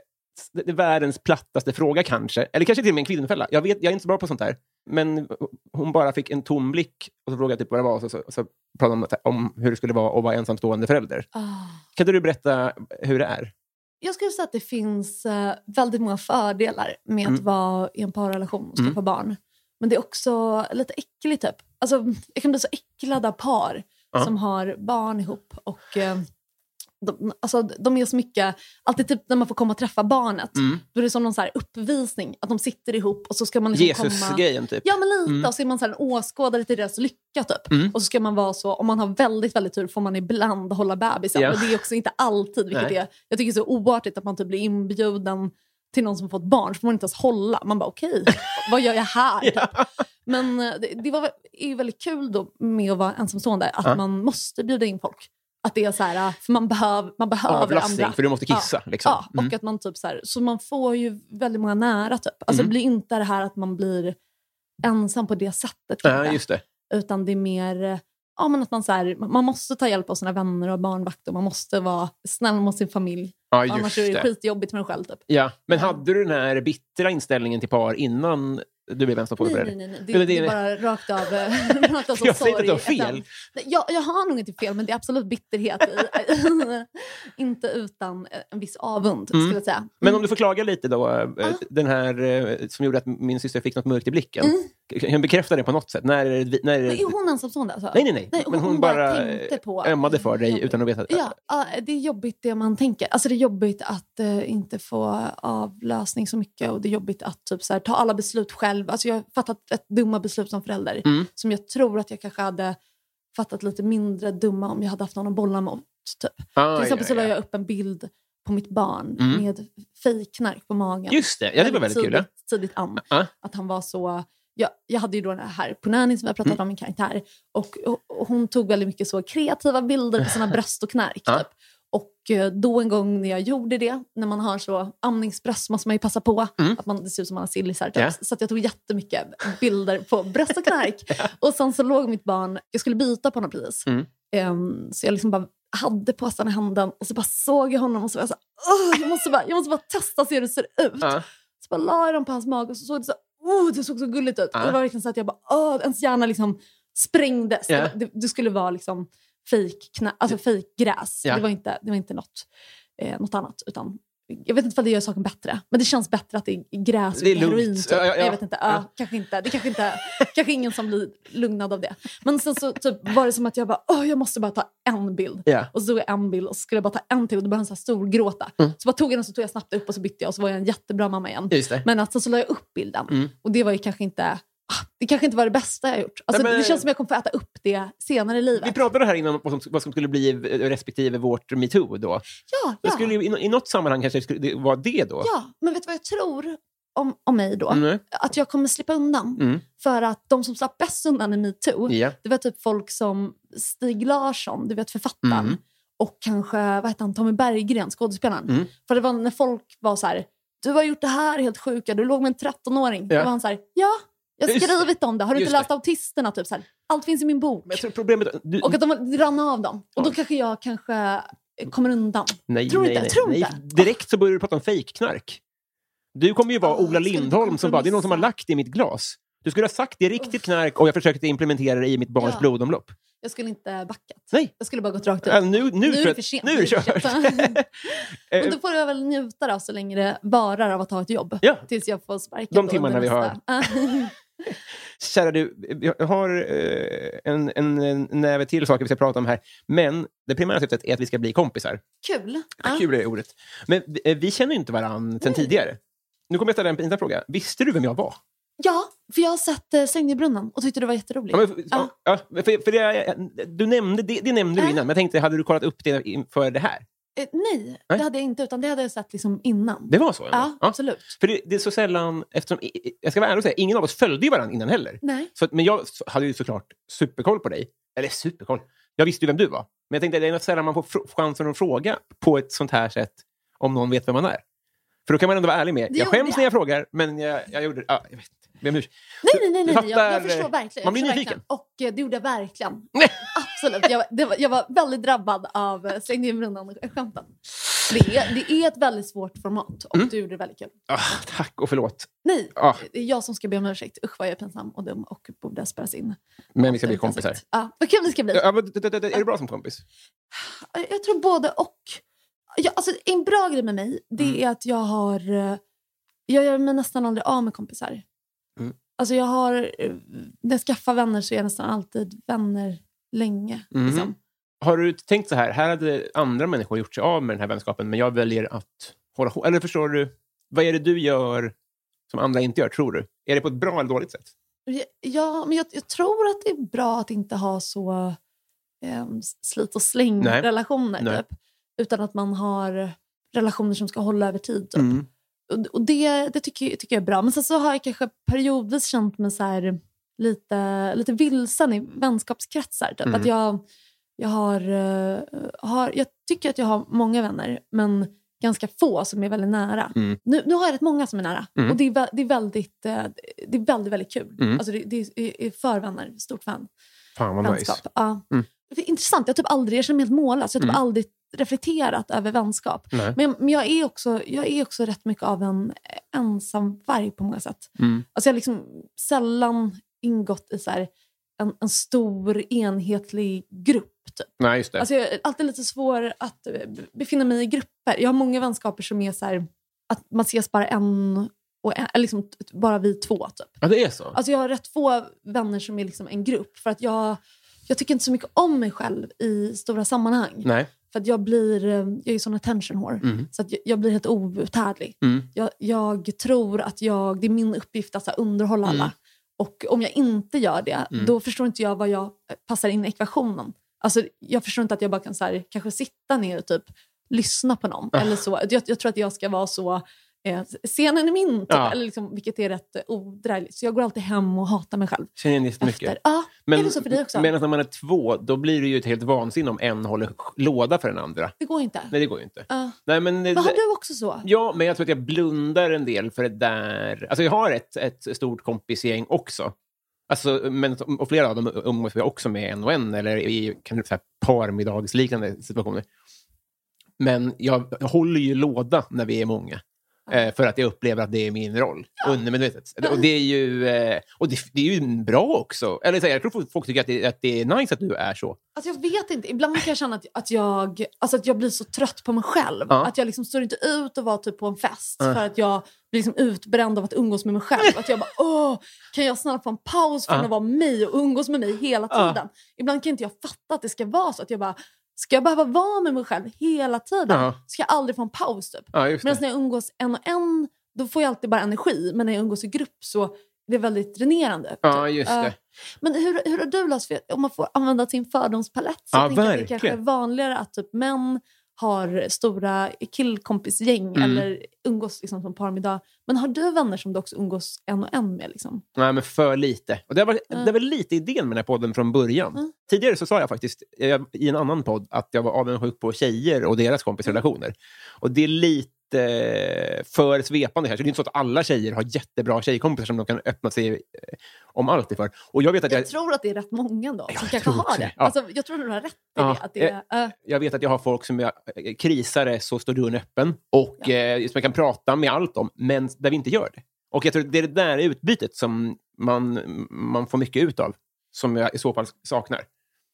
Det det är världens plattaste fråga kanske. Eller kanske till och med en kvinnofälla. Jag, vet, jag är inte så bra på sånt här. Men hon bara fick en tom blick och så frågade jag typ vad det var. Och så, så, så pratade hon om om hur det skulle vara att vara ensamstående förälder. Ah. Kan inte du berätta hur det är? Jag skulle säga att det finns eh, väldigt många fördelar med att Mm. vara i en parrelation och skaffa Mm. barn. Men det är också lite äckligt. Typ. Alltså, jag kan bli så äcklad av par Ja. som har barn ihop. Och, eh, de, alltså, de är så mycket... Alltid typ när man får komma och träffa barnet, Mm. då är det som någon så här uppvisning. Att de sitter ihop och så ska man liksom komma... Jesus-grejen, typ. Ja, men lite. Mm. Och så är man så här en åskådare till deras lycka. Typ. Mm. Och så ska man vara så, om man har väldigt, väldigt tur får man ibland hålla bebisen. Ja. Men det är också inte alltid, vilket Nej. är, jag tycker det är så oartigt att man typ blir inbjuden till någon som fått barn, så får man inte ens hålla. Man bara okej, vad gör jag här? Typ. Men eh, det, det var, väl- är ju väldigt kul då med att vara ensamstående, att Ja. man måste bjuda in folk. Att det är så här, för man, behöv, man behöver Avlastning, andra. för du måste kissa. Liksom. Ja, och Mm. att man typ så, här, så man får ju väldigt många nära. Typ. Alltså, Mm. Det blir inte det här att man blir ensam på det sättet. Nej, kanske. just det. Utan det är mer eh, ja, men att man, så här, man måste ta hjälp av sina vänner och barnvakter. Man måste vara snäll mot sin familj. Ja, just Annars är det det. skitjobbigt för en själv. Typ. Ja. Men hade du den här bittra inställningen till par innan du blev Nej, ensamförälder? nej, nej, nej. Det, Ja, men det det är- är bara rakt av, eh, rakt av som Jag säger inte att du har sorg. fel. Nej, Jag, jag har nog inte fel, men det är absolut bitterhet. i, inte utan eh, en viss avund, Mm. skulle jag säga. Men om du får klaga lite då. eh, Ah. Den här eh, som gjorde att min syster fick något mörkt i blicken. Kan jag bekräfta det på något sätt? När, är det- när, är det- Mm. Men är hon ensamstående? Alltså? Eh, nej, nej, nej. Nej, Men hon, bara tänkte på... ömmade för dig Ja. utan att veta. Ja, ja, det är jobbigt det man tänker. Alltså det är jobbigt att eh, inte få avlösning så mycket och det är jobbigt att typ, så här, ta alla beslut själv. Alltså jag har fattat ett dumma beslut som förälder Mm. som jag tror att jag kanske hade fattat lite mindre dumma om jag hade haft någon att bolla mot. Typ. Ah, Till exempel ja, så la ja. jag upp en bild på mitt barn Mm. med fejkknark på magen. Just det, ja, det var väldigt kul. tidigt, ja. tidigt an. Ja. Att han var så... Jag, jag hade ju då den här Punani som jag pratat Mm. om, min karaktär. Och, och, och hon tog väldigt mycket så kreativa bilder på sina bröst och knark. Ja. Typ. Och eh, då en gång när jag gjorde det, när man har så amningsbröst måste man ju passa på Mm. att man, det ser ut som man har sillisar. Typ. Ja. Så att jag tog jättemycket bilder på bröst och knark. Och sen så låg mitt barn, jag skulle byta på honom precis. Mm. Ehm, så jag liksom bara hade påsen i handen och så bara såg jag honom och så var jag så här, "Åh, jag, måste bara, jag måste bara testa se hur det ser ut. Ja. Så bara la jag dem på hans mage och så såg det så, oh, det såg så gulligt ut. Ja. Och det var verkligen så att jag bara, åh, ens hjärna liksom sprängdes. Ja. Det, var- det, det skulle vara liksom fejk, kna- alltså fejkgräs. Ja. Det var inte, det var inte något, eh, något annat. Utan, jag vet inte om det gör saken bättre, men det känns bättre att det är gräs och Det är lugnt. heroin. Typ. Ja, ja, ja. Nej, Jag vet inte, ja, Ja. kanske inte. Det kanske inte, kanske ingen som blir lugnad av det. Men sen så typ, var det som att jag bara, åh, jag måste bara ta en bild. Ja. Och så tog jag en bild och så skulle jag bara ta en till och då började han så här storgråta. Mm. Så bara tog jag den så tog jag snabbt upp och så bytte jag och så var jag en jättebra mamma igen. Just det. Men alltså, så la jag upp bilden Mm. och det var ju kanske inte ah, det kanske inte var det bästa jag gjort. Alltså, Nej, men- Det känns som jag kommer få äta upp det senare i livet. Vi pratade här innan om vad som- vad som skulle bli eh, respektive vårt metoo. Då. ja, Det ja, skulle, ju- I i något sammanhang kanske det skulle det var det då? ja, men vet du vad jag tror om, om mig då? Mm. Att jag kommer slippa undan. Mm. För att de som slapp bäst undan i metoo, Ja. det var typ folk som Stig Larsson, du vet författaren, Mm. och kanske vad heter han, Tommy Berggren, skådespelaren. Mm. För det var när folk var så här, du har gjort det här helt sjuka, du låg med en 13-åring. Ja. Då var han så här, ja, jag har Just det. skrivit om det. Har du Just inte läst autisterna? Typ så här, Allt finns i min bok. Men jag tror problemet... Du, Och att de rann av dem. Och då Ja. kanske jag kanske eh, kommer undan. nej, tror nej, inte, nej, tror nej. inte. Direkt så börjar du prata om fejkknark. Du kommer ju vara Ah, Ola ska vi Lindholm som bara, det är någon som har kompromissa?" lagt det i mitt glas. Du skulle ha sagt det är riktigt knark och jag försökte implementera det i mitt barns Ja. blodomlopp. Jag skulle inte backat. Nej. Jag skulle bara gått rakt ut. Äh, nu, nu, Nu är det tror jag- för sent. Nu är det kört. Eh, Och då får jag väl njuta då, så länge det varar av att ha ett jobb. Ja. Tills jag får sparken. De då timmarna under vi har. nästa. Kära du, jag har eh, en, en, en näve till saker vi ska prata om här. Men det primära syftet är att vi ska bli kompisar. Kul. Ja. Kul är ordet. Men vi, eh, vi känner ju inte varandra sedan tidigare. Nu kommer jag ställa en pinsamt fråga. Visste du vem jag var? Ja, för jag har sett eh, Sängd i brunnen och tyckte det var jätteroligt. Ja, men, f- Ja. ja, för, för det, du nämnde, det, det nämnde du Ja. innan, men jag tänkte, hade du kollat upp det inför det här? Eh, nej, Nej. det hade jag inte, utan det hade jag sett liksom innan. Det var så? ändå. ja, Ja. absolut. För det, det är så sällan, eftersom, i- i- jag ska vara ärlig och säga, ingen av oss följde ju varandra innan heller. Nej. Så, att- men jag s- hade ju såklart superkoll på dig. Eller superkoll, jag visste ju vem du var. Men jag tänkte, det är nog sällan man får fr- chansen att fråga på ett sånt här sätt om någon vet vem man är. För då kan man ändå vara ärlig med, Det jag gjorde skäms jag. när jag frågar, men jag, jag gjorde ja, jag vet inte. Ber om ursäkt. Nej, nej, nej, nej, du nej. Jag, jag fattar, förstår eh, verkligen. man blir jag förstår nyfiken. verkligen. Och eh, det gjorde jag verkligen. Absolut. Jag, var- det var, jag var väldigt drabbad av eh, Släng dig i brunnen-skämten. Det, är- det är ett väldigt svårt format och Mm. du gjorde det väldigt kul. Ah, tack och förlåt. Nej, Ah, det är jag som ska be om ursäkt. Usch vad jag är pinsam och dum och borde spärras in. men vi ska bli kompisar. Ja, vad kul vi ska bli. Ja, men, d- d- d- är du bra som kompis? Eh, Jag tror både och. Jag, alltså, en bra grej med mig det Mm. är att jag har... eh, Jag gör mig nästan aldrig av med kompisar. Mm. Alltså jag har, eh, när jag skaffar vänner så är jag nästan alltid vänner länge. Mhm. Liksom. Har du tänkt så här, här hade andra människor gjort sig av med den här vänskapen, men jag väljer att hålla ihop. Eller förstår du, vad är det du gör som andra inte gör, tror du? Är det på ett bra eller dåligt sätt? Ja, men jag, jag tror att det är bra att inte ha så ehm, slit och Nej. släng-relationer. Nej. Typ. Utan att man har relationer som ska hålla över tid. Typ. Och, och det, det tycker, tycker jag är bra. Men sen så har jag kanske periodvis känt mig så här, lite, lite vilsen i vänskapskretsar. Typ. Mm. Att jag, Jag, har, eh, har, jag tycker att jag har många vänner, men ganska få som är väldigt nära. Mm. Nu, nu har jag rätt många som är nära Mm. och det är, vä- det är, väldigt, eh, det är väldigt, väldigt kul. Mm. Alltså det, det är, är för vänner, stort fan. Fan vad nice. vänskap. Ja. Mm. Det är intressant, jag, har typ aldrig, jag känner mig helt mållös. Jag har typ Mm. aldrig reflekterat över vänskap. Nej. Men, men jag, är också, jag är också rätt mycket av en ensam varg på många sätt. Mm. Alltså jag har liksom sällan ingått i så här en, en stor enhetlig grupp. Typ. Nej, just det. Alltså jag är alltid lite svår att eh, befinna mig i grupper. Jag har många vänskaper som är så här, att man ses bara en och en, eller liksom t- bara vi två. Typ. ja, det är så. Alltså jag har rätt få vänner som är liksom en grupp. För att jag, jag tycker inte så mycket om mig själv i stora sammanhang. Nej. För att jag blir, eh, jag är ju sån attention whore. Mm. Så att jag, jag blir helt outhärdlig. Mm. Jag, jag tror att jag, det är min uppgift att så här, underhålla Mm. alla. Och om jag inte gör det, Mm. då förstår inte jag vad jag eh, passar in i ekvationen. Alltså, jag förstår inte att jag bara kan så här, kanske sitta ner och typ lyssna på någon. Ah. Eller så. Jag, jag tror att jag ska vara så... Eh, scenen är min, typ. Ja. eller liksom, vilket är rätt eh, odrägligt. Så jag går alltid hem och hatar mig själv. Känner ni så mycket? Efter. Ja, är det så för dig också? Medan när man är två, då blir det ju ett helt vansinne om en håller låda för den andra. det går inte. Nej, det går ju inte. Ja. Nej, men, Men har du också så? Ja, men jag tror att jag blundar en del för det där. Alltså jag har ett, ett stort kompisgäng också. Alltså, men, och flera av dem umgås jag också med en och en, eller i kan du säga, parmiddagsliknande situationer. Men jag, jag håller ju låda när vi är många. eh, För att jag upplever att det är min roll, undermedvetet. Och, det är ju, eh, och det, det är ju bra också. Eller, så här, jag tror folk tycker att det, att det är nice att du är så. Alltså jag vet inte. Ibland kan jag känna att, att, jag, alltså att jag blir så trött på mig själv. Ja. Att Jag liksom står inte ut och vara typ på en fest Nej. för att jag blir liksom utbränd av att umgås med mig själv. Att jag bara, Åh, kan jag snälla få en paus från Ja. att vara mig och umgås med mig hela Ja. tiden? Ibland kan inte jag fatta att det ska vara så. Att jag bara, Ska jag behöva vara med mig själv hela tiden? Ja. Ska jag aldrig få en paus? Typ? Ja, just Medan det. när jag umgås en och en då får jag alltid bara energi. Men när jag umgås i grupp så är det väldigt dränerande. typ. Ja, just Ja. det. Men hur, hur har du löst för Om man får använda sin fördomspalett så Ja, tänker jag att det verkligen. kanske är vanligare att typ män har stora killkompisgäng Mm. eller umgås liksom som parmiddag. Men har du vänner som du också umgås en och en med? Liksom? Nej, men för lite. Och det, var, Mm. det var lite idén med den här podden från början. Mm. Tidigare så sa jag faktiskt eh, i en annan podd att jag var avundsjuk på tjejer och deras kompisrelationer. Och det är lite eh, för svepande här. Så det är inte så att alla tjejer har jättebra tjejkompisar som de kan öppna sig eh, om allt för. Och jag vet att jag, Jag tror att det är rätt många då, Ja, som jag kanske tror har också det. det. Ja. Alltså, jag tror att du har rätt i Ja, det. Att det är, eh, jag, vet att jag har folk som jag eh, krisare så står dörren öppen och eh, som jag kan prata med allt om, men där vi inte gör det. Och jag tror att det är det där utbytet som man, man får mycket ut av, som jag i så fall saknar.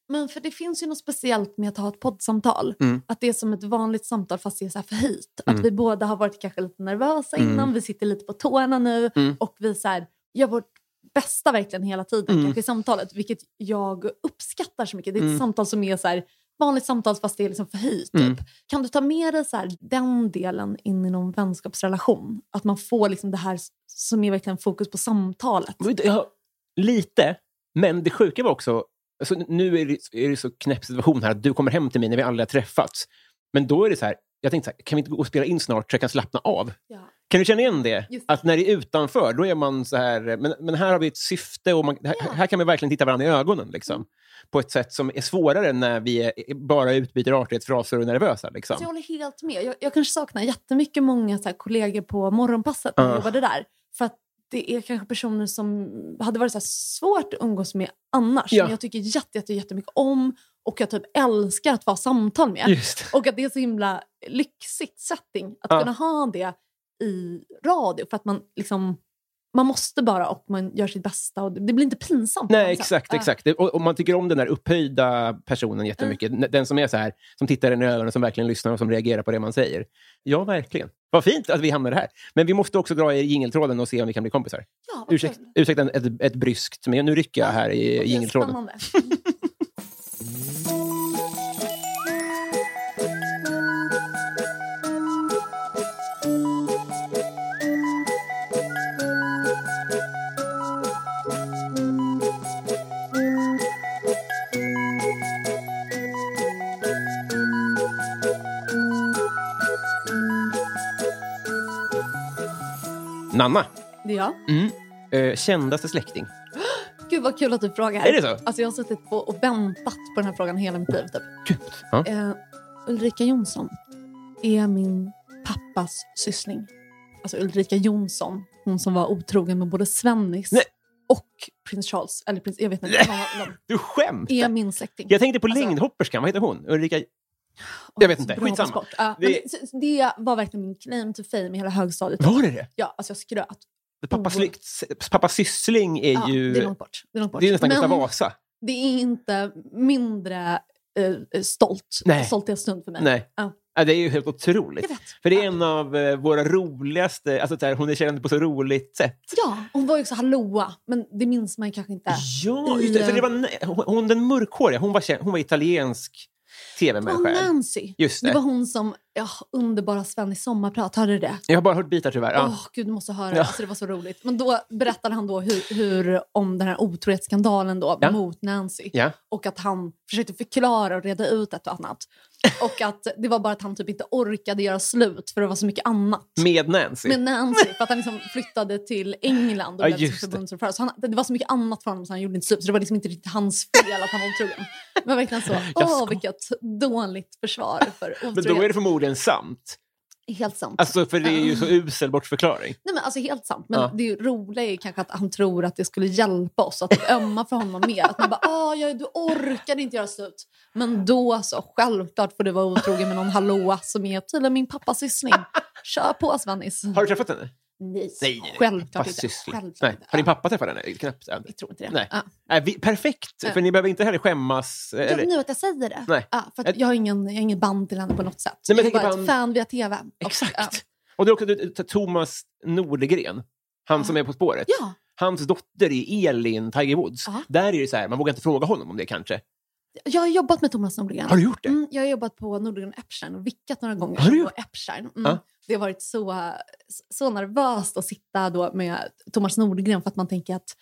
men för det finns ju något speciellt med att ha ett poddsamtal. Mm. Att det är som ett vanligt samtal fast det är så här förhöjt. Att Mm. vi båda har varit kanske lite nervösa Mm. innan, vi sitter lite på tårna nu Mm. och vi så här, gör vårt bästa verkligen hela tiden Mm. kanske i samtalet. Vilket jag uppskattar så mycket. Det är ett Mm. samtal som är så här, vanligt samtal fast det är liksom förhöjt. Typ. Mm. Kan du ta med dig så här, den delen in i någon vänskapsrelation? Att man får liksom det här som är verkligen fokus på samtalet. Ja, lite, men det sjuka var också... Alltså, nu är det, är det så knäpp situation här att du kommer hem till mig när vi aldrig har träffats. Men då är det så här, jag tänkte så här, kan vi inte gå och spela in snart så jag kan slappna av? Ja. Kan du känna igen det? Just det. Att när det är utanför, då är man så här, men, men här har vi ett syfte och man, här, Ja. Mm. här kan vi verkligen titta varandra i ögonen. Liksom, på ett sätt som är svårare när vi är, bara utbyter artighetsfraser och är nervösa. Liksom. Alltså, jag håller helt med. Jag, jag kanske saknar jättemycket många så här, kollegor på morgonpasset när Ah. jag jobbade där. För att det är kanske personer som hade varit så här, svårt att umgås med annars. Ja. Men jag tycker jätte, jätte, jättemycket om och jag typ älskar att vara samtal med. Just. Och att det är så himla lyxigt setting att Ja. kunna ha det i radio. För att man liksom... Man måste bara och man gör sitt bästa. Och det det blir inte pinsamt. på Nej, något sätt. Ah. exakt. Ja. exakt. Det- Och, och man tycker om den där upphöjda Ah. personen jättemycket. Den som är så här, som tittar en i ögonen, som verkligen lyssnar och som reagerar på det man säger. Ja, verkligen. Vad fint att vi hamnade här. Men vi måste också dra i jingeltråden och se om vi kan bli kompisar. Ja, vad Ursäkta, kul. ursäkta ett, ett bryskt, men nu rycker jag här i Okej, jingeltråden. spännande. Nanna, Det är jag. mm. eh, kändaste släkting. Gud vad kul att du frågar. Är det så? Alltså jag har suttit på och väntat på den här frågan hela mitt liv. Typ. Gud. Ja. Eh, Ulrika Jonsson är min pappas syssling. Alltså Ulrika Jonsson, hon som var otrogen med både Svennis Nej. och prins Charles. Eller prins, jag vet inte. Nej. vad han- Du skämtar! Är min släkting. Jag tänkte på Alltså- längdhopperskan, vad heter hon? Ulrika... Jag vet Så inte, bra på skitsamma. sport. Ja, Det- men det... det var verkligen min claim to fame i hela högstadiet. Var det det? Ja, alltså jag skröt. Pappas, slykt- pappas syssling är Ja, ju... Det är långt bort. Det är, långt bort. det är nästan Gustav Men Vasa. det är inte mindre eh, stolt. Nej. Stolthetsstund för mig. Nej. Ja. Ja, det är ju helt otroligt. Jag vet. För det är en av eh, våra roligaste... Alltså, så här, hon är känd på så roligt sätt. Ja, hon var ju också hallåa. Men det minns man ju kanske inte. Ja, just det. För det var, ne- hon- hon den mörkhåriga, hon var, känd, hon var italiensk Det var tv-människa. Nancy. Just Det var det. hon som, ja, underbara Sven i sommarprat, hörde du det? Jag har bara hört bitar tyvärr. Åh, Ja. gud, du måste höra. Ja. Alltså, det var så roligt. Men då berättade han då hur, hur om den här otrohetsskandalen då Ja. mot Nancy. Ja. Och att han försökte förklara och reda ut ett och annat. Och att det var bara att han typ inte orkade göra slut för det var så mycket annat. Med Nancy. Med Nancy, för att han liksom flyttade till England och Ja, blev typ just det. förbundsordförande. Så han, det var så mycket annat för honom så han gjorde inte slut. Så det var liksom inte riktigt hans fel att han var otrogen. Men verkligen så, Jag åh skojar. vilket dåligt försvar för Men då är otrohet. det förmodligen sant. Helt sant. Alltså, för det är Ah. ju så usel bortförklaring. Nej, men alltså helt sant. Men Ja. det är ju roliga är ju kanske att han tror att det skulle hjälpa oss att ömma för honom mer. Att man bara, ah, ja, du orkade inte göra slut. Men då så, självklart får du vara otrogen med någon hallåa som är tydligen min pappas syssling. Kör på Svennis. Har du träffat henne? Nej, Nej, nej, nej. självklart Pappas inte. syssling. Självklart Nej. inte. Har din Ja, pappa träffat henne? Knappt. än. Jag tror inte det. typ. Nej. Ja. Nej, vi, perfekt, Ja. för ni behöver inte heller skämmas. eh, Ja, Eller, nu att jag säger det. Nej. Ja, för att jag, har ingen, jag har ingen band till henne på något sätt. Nej, men jag jag är tänker bara på ett fan via tv. Och- Exakt. Och det är också du- du- Thomas Nordegren, han som är På spåret. Ja, Hans dotter är Elin Tiger Woods. Ja. Där är det så här, man vågar inte fråga honom om det kanske. ja. jag har jobbat med Thomas Nordgren. Har du gjort det? Mm, jag har jobbat på Nordgren och Epstein och vickat några gånger. Har du på Epstein. Mm. Ja. Det har varit så, så nervöst att sitta då med Thomas Nordgren för att man tänker att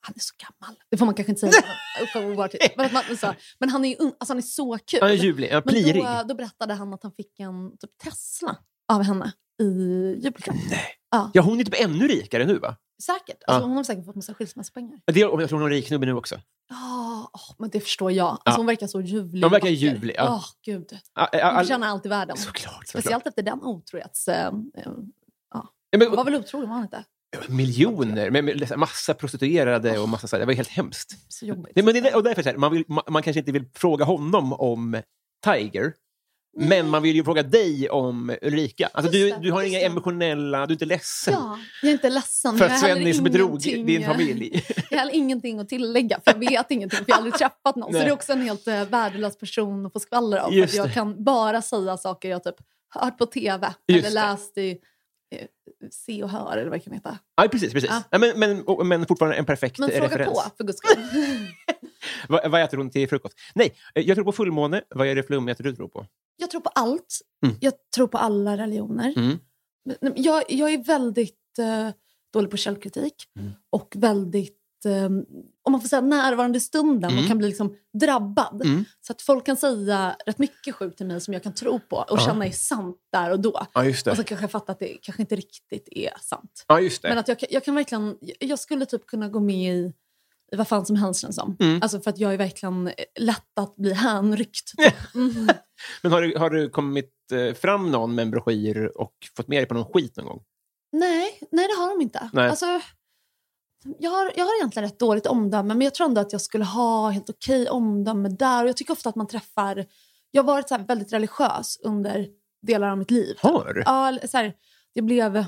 han är så gammal. Det får man kanske inte säga. Usch, vad oartigt. typ. men, att man, så, men han är ju ung, alltså han är så kul. Han är ljuvlig, ja, men plirig. då, då berättade han att han fick en typ, Tesla av henne i julklapp. Ja, hon är typ ännu rikare nu va? Säkert. Ja. Alltså, Hon har säkert fått massa skilsmässopengar. Ja, Det, jag tror hon är en rik snubbe nu också. Ja, åh, men det förstår jag. Alltså, Ja. Hon verkar så ljuvlig. Hon verkar och vacker. ljuvlig, ja. Åh, gud. Ah, eh, Hon all- förtjänar allt i världen. Såklart. såklart. Speciellt efter den otrohets... Eh, eh, Ja, han var men, väl otrogen, var han inte? miljoner, men, men liksom massa prostituerade och massa så här, Det var helt hemskt. Så jobbigt. Nej, men det, är- och därför så här, man, vill, man, man kanske inte vill fråga honom om Tiger. Men man vill ju fråga dig om Ulrika. Alltså, Just du, det, du har just inga det. emotionella... Du är inte ledsen Ja, jag är inte ledsen. för men att jag har heller Svennis bedrog ingenting- din familj. Jag har heller ingenting att tillägga, för jag vet ingenting. För jag har aldrig träffat någon. Så Nej. det är också en helt eh, värdelös person att få skvaller av. För Just att jag det. kan bara säga saker jag typ hört på tv Just eller det. läst i eh, Se och Hör eller vad det kan heta. Ja, precis. precis. Ja. Ja, men, men, och- men fortfarande en perfekt Men eh, fråga referens. på, för guds skull. Vad, vad äter hon till frukost? Nej, eh, jag tror på fullmåne. Vad är det flumighet du tror på? Jag tror på allt. Mm. Jag tror på alla religioner. Mm. Men- men Jag, jag är väldigt eh, dålig på källkritik Mm. och väldigt, eh, om man får säga närvarande i stunden Mm. och kan bli liksom drabbad. Mm. Så att folk kan säga rätt mycket sjukt till mig som jag kan tro på och Ja. känna är sant där och då. Ja, just Och så kanske jag fattar att det kanske inte riktigt är sant. Ja, just det. Alltså, Men att jag, kan- jag kan verkligen, jag- jag skulle typ kunna gå med i i vad fan som helst känns som. Mm. Alltså för att jag är verkligen eh, lätt att bli hänryckt. Mm. Men har du, har du kommit eh, fram någon med en broschyr och fått med dig på någon skit någon gång? Nej, nej det har de inte. Nej. Alltså, jag, har, jag har egentligen rätt dåligt omdöme, men jag tror ändå att jag skulle ha helt okej omdöme där. Och jag tycker ofta att man träffar... Jag har varit så här väldigt religiös under delar av mitt liv. Har du? Ja, eller så här, jag, blev,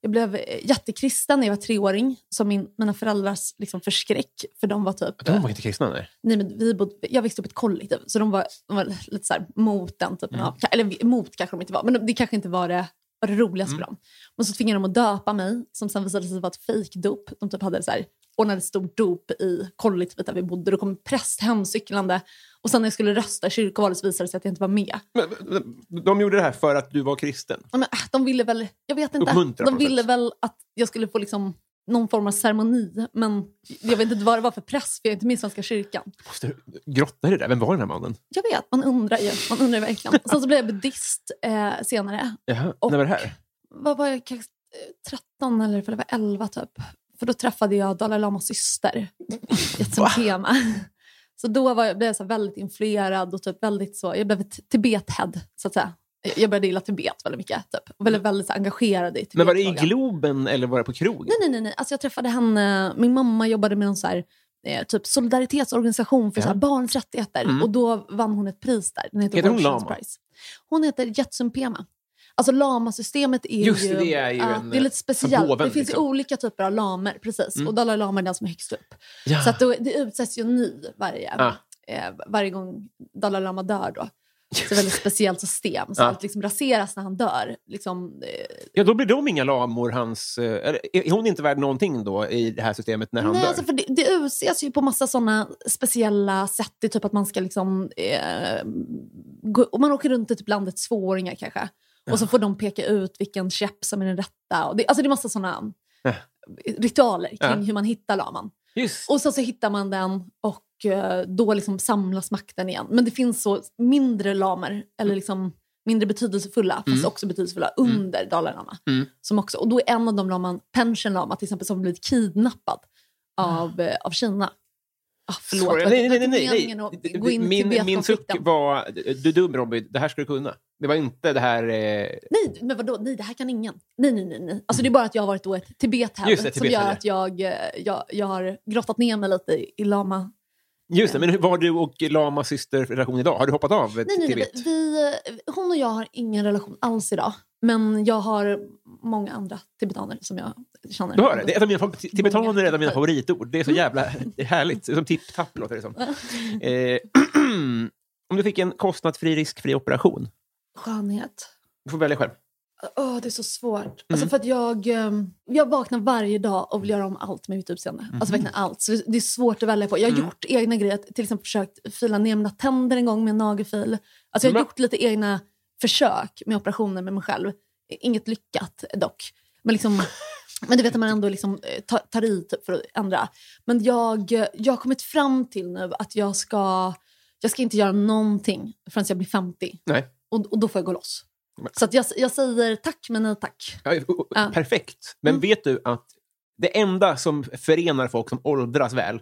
jag blev eh, jättekristen när jag var treåring, som min, mina föräldrars liksom förskräck. För de var typ... De var inte kristna, nej. Nej, men vi bodde, jag växte upp i ett kollektiv, så de var, de var lite så här mot den typen Mm. av... Eller vi- mot kanske de inte var, men de- det kanske inte var det, var det roligaste Mm. för dem. Men så tvingade de att döpa mig, som sen visade sig vara ett fejkdop. De typ hade så här, ordnade ett stort dop i kollektivet där vi bodde. Då kom en präst hem cyklande. Och sen när jag skulle rösta i kyrkovalet så visade det sig att jag inte var med. Men, men, de gjorde det här för att du var kristen. Ja, Men, äh, de ville väl, jag vet inte, Uppmuntra på de något ville sätt. väl att jag skulle få liksom någon form av ceremoni. Men jag vet inte vad det var för press, för jag är inte med i Svenska kyrkan. Måste grotta i det där. Vem var den här mannen? Jag vet, man undrar ju. Man undrar verkligen. Sen så blev jag buddhist eh, senare. Jaha, Och- när var det här? Vad var jag? Kanske eh, 13 eller för det var 11 typ. För då träffade jag Dalai Lamas syster i ett sånt tema. Så då var jag, blev jag så här väldigt influerad och typ väldigt så, jag blev ett Tibet-head så att säga. Jag- Jag började gilla Tibet väldigt mycket. Typ. Och väldigt, väldigt så här engagerad i Mm. Men var det i Tibetfrågan. Globen eller var det på krogen? Nej, nej, nej. nej. Alltså, jag träffade henne. Min mamma jobbade med någon så här, eh, typ solidaritetsorganisation för Ja. så här, barns rättigheter. Mm. Och då vann hon ett pris där. Den heter, Heter hon World Children's Lama? Prize. Hon heter Jetsum Pema. Alltså lama-systemet är Just ju... det, det är ju ja, en, det är lite speciellt. påven, det finns liksom. ju olika typer av lamer, precis. Mm. Och Dalai lama är den som är högst upp. Ja. Så att då, det utsätts ju en ny varje, Ah. eh, varje gång Dalai lama dör. Då. Så det är väldigt speciellt system. Så Ja. allt liksom raseras när han dör. Liksom, eh, ja, då blir de inga lamor. Hans, eh, eller, är är hon inte värd någonting då i det här systemet när han Nej, dör? alltså för det, det utses ju på massa såna speciella sätt. Det är typ att man ska liksom... Eh, gå, och man åker runt i typ landets tvååringar kanske. Och så får de peka ut vilken käpp som är den rätta. Och det, alltså det är massa såna Ja. ritualer kring Ja. hur man hittar laman. Just. Och sen så hittar man den och eh, då liksom samlas makten igen. Men det finns så mindre lamer, eller liksom mindre betydelsefulla, fast Mm. också betydelsefulla, under Dalai Lama. Mm. Som också, och då är en av de laman, Penchen Lama till exempel, som blivit kidnappad av, eh, av Kina. Ah, förlåt, Ah. Sorry. var det Nej, nej, inte nej. nej, meningen att nej. gå in i Min, min suck Tibetkonflikten? var... Du är dum, Robby. Det här ska du kunna. Det var inte det här... Eh, Nej, men vadå? Nej, det här kan ingen. Nej, nej, nej. nej. Alltså, det är bara att jag har varit då ett tibet här Mm. Just det, som Tibet, gör ja. att jag, eh, jag, jag har grottat ner mig lite i, i lama just det, men hur var du och Lamas syster relation idag? Har du hoppat av nej, Nej, nej, nej. Tibet? Vi, vi- eh, hon och jag har ingen relation alls idag. Men jag har många andra tibetaner som jag känner. Du hör det. det är ett av mina, fa- tibetaner är ett av mina Många. Mm. favoritord. Det är så jävla det är härligt. Det är som tipp-tapp, låter det som. Eh, om du fick en kostnadsfri, riskfri operation? Skönhet. Du får välja själv. Åh, det är så svårt. Alltså för att jag, ehm, jag vaknar varje dag och vill göra om allt med mitt utseende. Alltså verkligen allt. Så det- det är svårt att välja på. Jag har gjort egna grejer. Till exempel försökt fila ner mina tänder en gång med en nagelfil. Alltså jag har Men- gjort lite egna försök med operationer med mig själv. Inget lyckat dock. Men, liksom, men du vet att man ändå liksom eh, tar, tar i typ för att ändra. Men jag, eh, jag har kommit fram till nu att jag ska, jag ska inte göra någonting förrän jag blir 50. Nej. Och, och då får jag gå loss. Men- Så att jag, jag säger tack men nej tack. Ja, o- o- Ja. Perfekt. Men Mm. vet du att det enda som förenar folk som åldras väl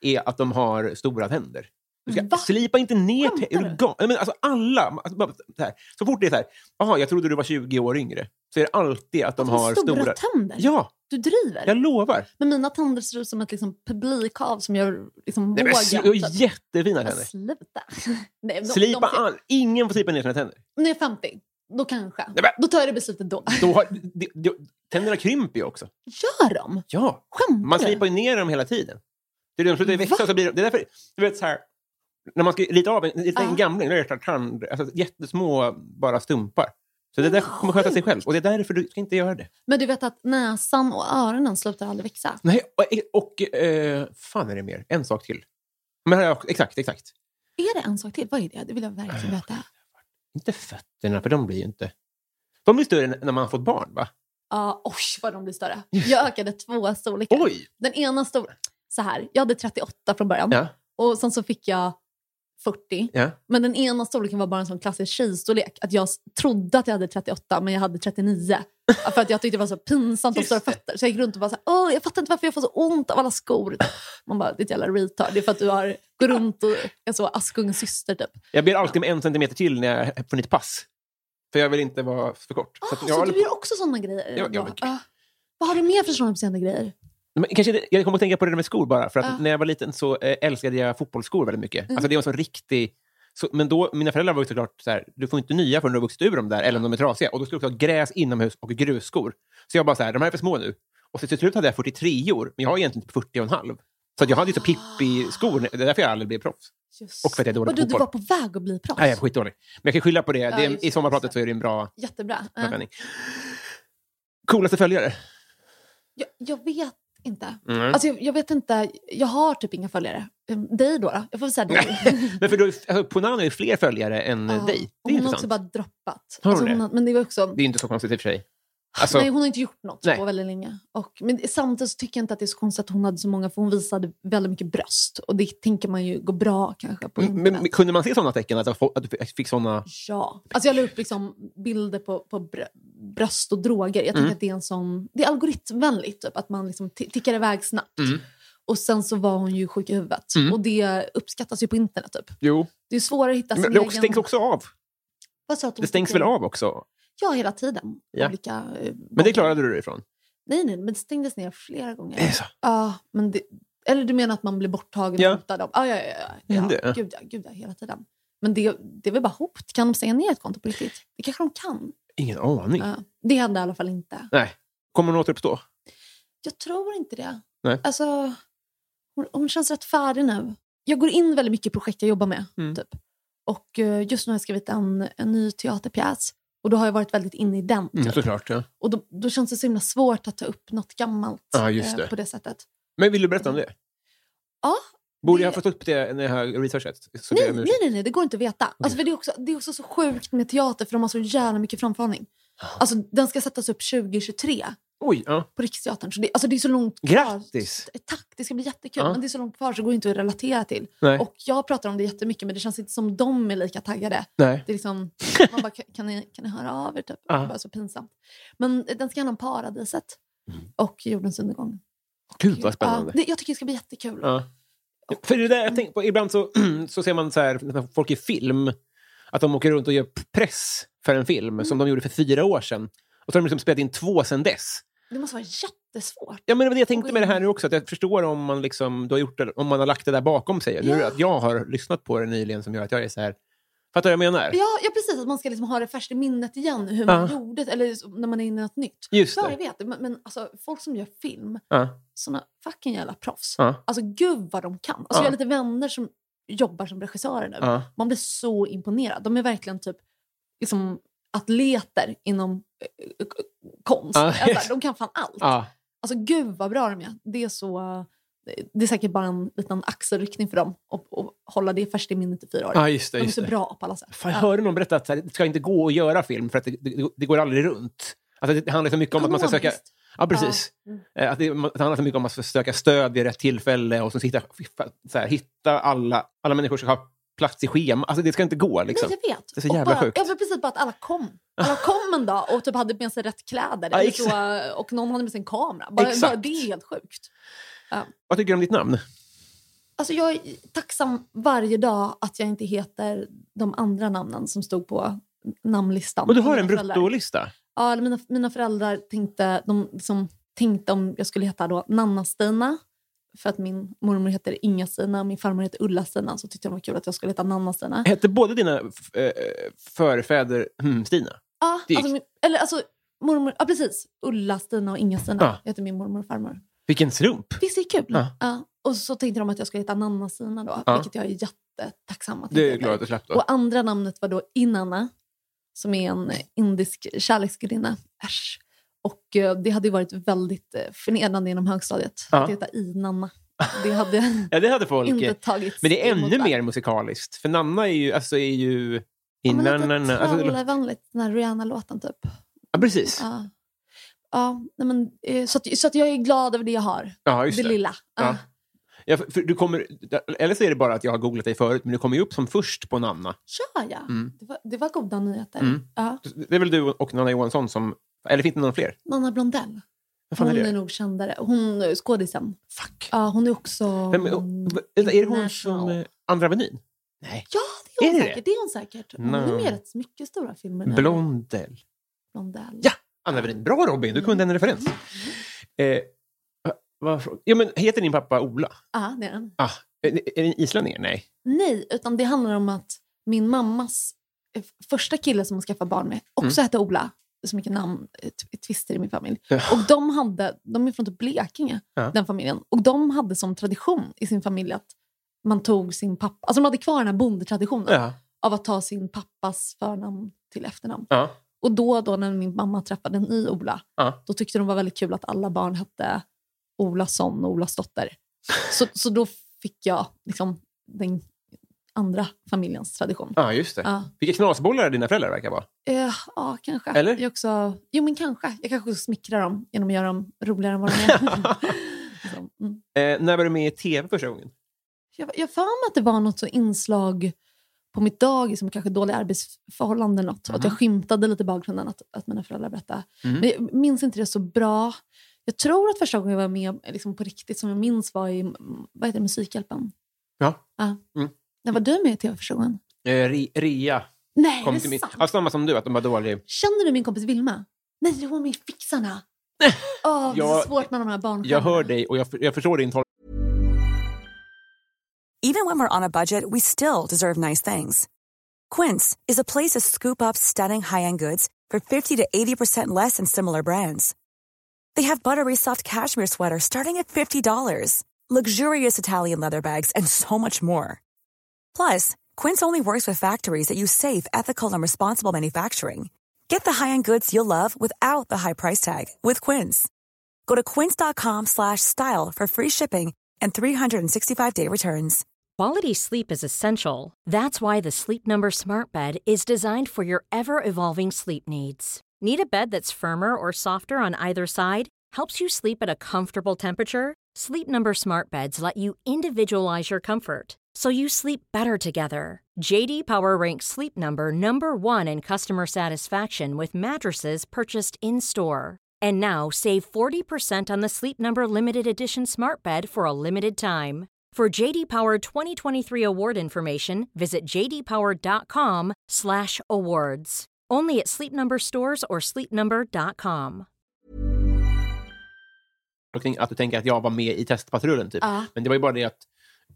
är att de har stora tänder. Du ska Va? slipa inte ner Skämtar te- du? organ. Nej, Men alltså alla, alltså bara så, här. så fort det är så här, aha, jag trodde du var 20 år yngre, så är det alltid att de har stora... Alltså, tänder? Ja, Du driver? jag lovar. Men mina tänder ser ut som ett liksom, publikhav som gör liksom, Nej, men, vågen. sl- Så att- jättefina Men tänder. sluta. Nej, de- Slipa de ser- all... Ingen får slipa ner sina tänder. När jag är 50, då kanske. men- Då tar jag det beslutet då. Då har... de, de, tänderna krymper ju också. Gör de? Ja. Skämtar Man du? slipar ju ner dem hela tiden. Det är de slutar ju växa. Va? Så blir de, det är därför, du vet så här, när man ska rita av en, rita en Ja. gamling, då är det så här tand, alltså jättesmå bara stumpar. Så det Men där vad kommer sköta sig själv. Och det är därför du ska inte göra det. Men du vet att näsan och öronen slutar aldrig växa. Nej, och, och eh, fan är det mer? En sak till. Men, ja, exakt, exakt. Är det en sak till? Vad är det? Det vill jag verkligen veta. Inte fötterna, för de blir ju inte... De blir större när man har fått barn, va? Ja, oj vad de blir större. Jag ökade två storlekar. Oj! Den ena stor... Så här, jag hade 38 från början. Ja, Och sen så fick jag 40. ja. Men den ena storleken var bara en sån klassisk tjejstorlek. Att jag s- trodde att jag hade 38 men jag hade 39. För att jag tyckte det var så pinsamt att Just ha det. stora fötter. Så jag gick runt och bara så här, Åh, jag fattar inte varför jag får så ont av alla skor. Man bara, ditt jävla retard. Det är för att du har, går runt och är så Askungs syster typ. Jag ber alltid om en centimeter till när jag får ett pass. För jag vill inte vara för kort. Ah, så jag håller du gör också sådana grejer? Ja, jag vet. Ah. vad har du mer för sådana beseende grejer? Men kanske det, jag kommer att tänka på det där med skor bara. För att Ja. När jag var liten så eh, älskade jag fotbollsskor väldigt mycket. Mm. Alltså, det var en sån riktig... Så, men då, mina föräldrar var ju såklart så här, du får inte nya förrän du har vuxit ur dem där, eller om de är trasiga. Och då skulle jag också ha gräs inomhus och grusskor. Så jag bara så här, de här är för små nu. Och så till slut hade jag 43 år, men jag har egentligen typ 40 och en halv. Så att jag hade ju så Pippi-skor. Det är därför jag aldrig blev proffs. Just. Och för att jag är dålig Vadå, på du var fotboll. på väg att bli proffs? Nej, jag är skitdålig. Men jag kan skylla på det. det just är, I det, sommarpratet just så är det en bra Jättebra. Ah. förvändning. Coolaste följare? Jag, jag vet inte. Mm. Alltså, jag, jag vet inte. Jag har typ inga följare. Ehm, Dig då? då? Jag får väl säga dig. men för då, alltså, Ponan har ju fler följare än eh, Ja, dig. och Det är hon har också intressant. bara droppat. Alltså, Har hon hon det? har, men det var också... Det är inte så konstigt i och för sig. Alltså, nej, hon har inte gjort något Nej. på väldigt länge. Och, men samtidigt så tycker jag inte att det är så konstigt att hon hade så många, för hon visade väldigt mycket bröst. Och det tänker man ju går bra kanske på Mm, Men, internet. men kunde man se sådana tecken? Att, jag få- att du fick såna... Ja. Alltså jag la upp liksom bilder på, på brö- bröst och droger. Mm. Jag tycker att det är en sån... Det är algoritmvänligt, typ, att man liksom t- tickar iväg snabbt. Mm. Och sen så var hon ju sjuk i huvudet. Mm. Och det uppskattas ju på internet. Typ. Jo, Det är svårare att hitta sin men det Alltså, egen... också- stängs också av. Vad sa jag att hon Det stängs tycker? väl av också? Ja, hela tiden. Ja. Olika, eh, Men det klarade du dig ifrån? Nej, nej, men det stängdes ner flera gånger. Är det så? Ja, men det, eller du menar att man blir borttagen Ja. och hotad av... Ja, ja, ja. ja, ja. Det, ja. Gud, ja, gud ja, hela tiden. Men det, det är väl bara hot? Kan de stänga ner ett konto på riktigt? Det kanske de kan. Ingen aning. Ja. Det hände i alla fall inte. Kommer hon återuppstå? Jag tror inte det. Nej. Alltså, hon, hon känns rätt färdig nu. Jag går in väldigt mycket i projekt jag jobbar med. Mm. Typ. Och eh, just nu har jag skrivit en, en ny teaterpjäs. Och då har jag varit väldigt inne i den. Typ. Mm, såklart. Ja. Och då, då känns det så himla svårt att ta upp något gammalt Ja, just eh, det. på det sättet. Men vill du berätta om det? Ja, Borde det- jag ha fått upp det när jag har researchat? Så ber Nej, jag om nej, ursäkt. nej, nej, det går inte att veta. Alltså, för det, är också, det är också så sjukt med teater för de har så jävla mycket framförhållning. Alltså, den ska sättas upp 2023 Oj, ja. på Riksteatern. Så det, alltså, det är så långt kvar. Grattis! Tack, det ska bli jättekul. Ja. Men det är så långt kvar så det går inte att relatera till. Nej. Och jag pratar om det jättemycket men det känns inte som de är lika taggade. nej. Det är liksom, man bara, kan ni, kan ni höra av er? Typ. Ja. Det är bara så pinsamt. Men den ska handla om paradiset och jordens undergång. Mm. Gud vad spännande. Ja, det, jag tycker det ska bli jättekul. Ja. För det där jag tänker på, ibland så, så ser man så här, när folk i film, att de åker runt och gör press för en film som de gjorde för fyra år sedan. Och så har de liksom spelat in två sedan dess. Det måste vara jättesvårt. Ja, men det var det jag tänkte med det här nu också. Att jag förstår om man, liksom, du har, gjort det, om man har lagt det där bakom sig. Nu är det att jag har lyssnat på det nyligen som gör att jag är så här... Fattar du vad jag menar? Ja, ja precis. Att man ska liksom ha det färskt i minnet igen hur man Ja. gjorde det, eller så- när man är inne i något nytt. Just Ja, jag det. vet. det, Men, men alltså, folk som gör film, Ja, såna fucking jävla proffs. ja, Alltså gud vad de kan. Alltså, Ja. Jag har lite vänner som jobbar som regissörer nu. ja. Man blir så imponerad. De är verkligen typ liksom, atleter inom eh, eh, konst. Ja. Alltså, de kan fan allt. ja. Alltså gud vad bra de är. Det är, så, eh, det är säkert bara en liten axelryckning för dem att att hålla det färskt i minnet i fyra år. ja just det. de är Just så det. bra på alla sätt. Fan, jag Ja. hörde någon berätta att så här, det ska inte gå att göra film för att det, det, det går aldrig runt. Alltså, det handlar så mycket om att man ska söka... Ekonomiskt. Ja, precis. Ja. Mm. Eh, Att det, att det handlar så mycket om att söka stöd vid rätt tillfälle och så hitta, så här, hitta alla, alla människor som har plats i schema. Alltså, det ska inte gå. Liksom. Nej, jag vet. Det är så Och jävla bara, sjukt. Jag vill precis bara att alla kom. Alla kom en dag och typ hade med sig rätt kläder. Ja, eller så, eh, och någon hade med sig en kamera. Bara, bara, Exakt. det är helt sjukt. Vad tycker du om ditt namn? Alltså, jag är tacksam varje dag att jag inte heter de andra namnen som stod på namnlistan. Men du har Mina en föräldrar- bruttolista. Ja, eller mina, mina föräldrar tänkte, de liksom, tänkte om jag skulle heta då Nanna-Stina. För att min mormor heter Inga-Stina och min farmor heter Ulla-Stina. Så tyckte de var kul att jag skulle heta Nanna-Stina. Hette båda dina f- eh, förfäder hmm, Stina? Ja, Det gick. alltså, min, eller alltså mormor, ja precis. Ulla, Stina och Inga-Stina Ja. heter min mormor och farmor. Vilken slump! Visst är det kul? Ja. och så tänkte de att jag skulle heta Nanna-Stina då, Ja. vilket jag är jättetacksam att Det är jag jag glad att heter. du släppte. Och andra namnet var då Inanna, som är en indisk kärleksgudinna. Äsch. Och eh, det hade ju varit väldigt eh, förnedrande inom högstadiet Ja. att heta Inanna. Det hade Ja, det hade folk. inte tagits Men det är emot ännu väl. mer musikaliskt. För Nanna är ju... Alltså, är ju Ja, men Innan, lite nanna, alltså, trallvänligt, den här Rihanna-låten typ. ja, precis. Ja. Ja, nej men, eh, så, att, så att jag är glad över det jag har. Ja, Det, just det. lilla. Ja. Ja. Ja, för, för du kommer, eller så är det bara att jag har googlat dig förut, men du kommer ju upp som först på Nanna. Kör jag? Mm. Det, var, det var goda nyheter. Mm. Ja. Det är väl du och Nanna Johansson som... Eller finns det någon fler? Nanna Blondell. Vad fan Hon är är, det? nog kändare. Hon är skådisen. Fuck! Ja, hon är också... Vem, är- mm, vänta, är det hon international. som... eh, Andra Avenyn? Nej. Ja, det är hon Är det säkert. Det är hon säkert. Hon Nej. är med i rätt mycket stora filmer. nu. Blondell. Blondell. Ja! Anna Avenyn. Bra Robin, du kunde en referens. Mm. Eh, va- vad frå- ja, men heter din pappa Ola? Ja, det är den. Ah, är, är det islänningar? Nej. Nej, utan det handlar om att min mammas eh, första kille som hon skaffade barn med också Mm. hette Ola. Det är så mycket namn, eh, t- twister i min familj. Ja. Och de, hade, de är från typ Blekinge, Ja. den familjen. Och de hade som tradition i sin familj att man tog sin pappa... Alltså de hade kvar den här bondetraditionen Ja. av att ta sin pappas förnamn till efternamn. Ja. Och då, då när min mamma träffade en ny Ola, Ja. då tyckte de var väldigt kul att alla barn hette Olasson och Olasdotter. Så, så då fick jag liksom den andra familjens tradition. ja, just det. Ja, Vilka knasbollar dina föräldrar verkar vara. eh, ja kanske. Eller? Jag är också, jo, men kanske. Jag kanske smickrar dem genom att göra dem roligare än vad de är. liksom. mm. Eh, när var du med i tv första gången? Jag jag har för mig att det var något så inslag på mitt dagis, med kanske dåliga arbetsförhållanden. Något, och att jag skymtade lite i bakgrunden att, att mina föräldrar berättade. Mm. Men jag minns inte det så bra. Jag tror att första gången jag var med liksom på riktigt som jag minns var i mm, vad heter det, Musikhjälpen. Ja. ja. Mm. När var du med i tv första gången? Eh, Ri- Ria Nej, kom det till är min... Alltså- sant. Ja, samma som du, att de var dålig. Känner du min kompis Vilma? Nej, det var med i Fixarna. Åh, det är Jag- så svårt med de här barnen. Jag hör dig och jag, för, jag förstår din tolkning. Even when we're on a budget, we still deserve nice things. Quince is a place to scoop up stunning high-end goods for 50 to 80% less than similar brands. They have buttery soft cashmere sweaters starting at $50, luxurious Italian leather bags, and so much more. Plus, Quince only works with factories that use safe, ethical, and responsible manufacturing. Get the high-end goods you'll love without the high price tag with Quince. Go to quince.com slash style for free shipping and 365-day returns. Quality sleep is essential. That's why the Sleep Number Smart Bed is designed for your ever evolving sleep needs. Need a bed that's firmer or softer on either side? Helps you sleep at a comfortable temperature? Sleep Number Smart Beds let you individualize your comfort so you sleep better together. JD Power ranks Sleep Number number 1 in customer satisfaction with mattresses purchased in-store. And now save 40% on the Sleep Number limited edition Smart Bed for a limited time. For JD Power 2023 award information, visit jdpower.com/awards. Only at Sleep Number stores or sleepnumber.com. tolkning att du tänker att jag var med i testpatrullen. Typ. Ja. Men det var ju bara det att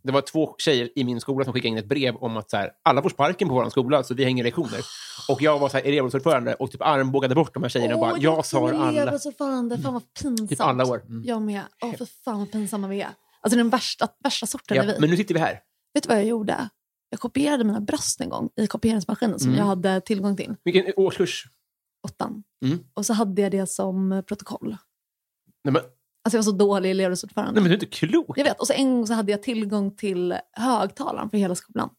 det var två tjejer i min skola som skickade in ett brev om att så här, alla får sparken på vår skola, så vi hänger lektioner. Och jag var så här, elevrådsordförande och typ armbågade bort de här tjejerna och bara, jag tar alla. Elevrådsordförande, fan vad pinsamt. Typ alla år. Mm. Jag med. Åh, för fan vad pinsamma vi är. Alltså den värsta, värsta sorten Ja, är vi. men nu sitter vi här. Vet du vad jag gjorde? Jag kopierade mina bröst en gång i kopieringsmaskinen som Mm. jag hade tillgång till. Vilken årskurs? Åttan. Mm. Och så hade jag det som eh, protokoll. Nej, men, Alltså jag var så dålig elevrådsordförande. nej, men du är inte klok. Jag vet. Och så en gång så hade jag tillgång till högtalaren för hela skolan.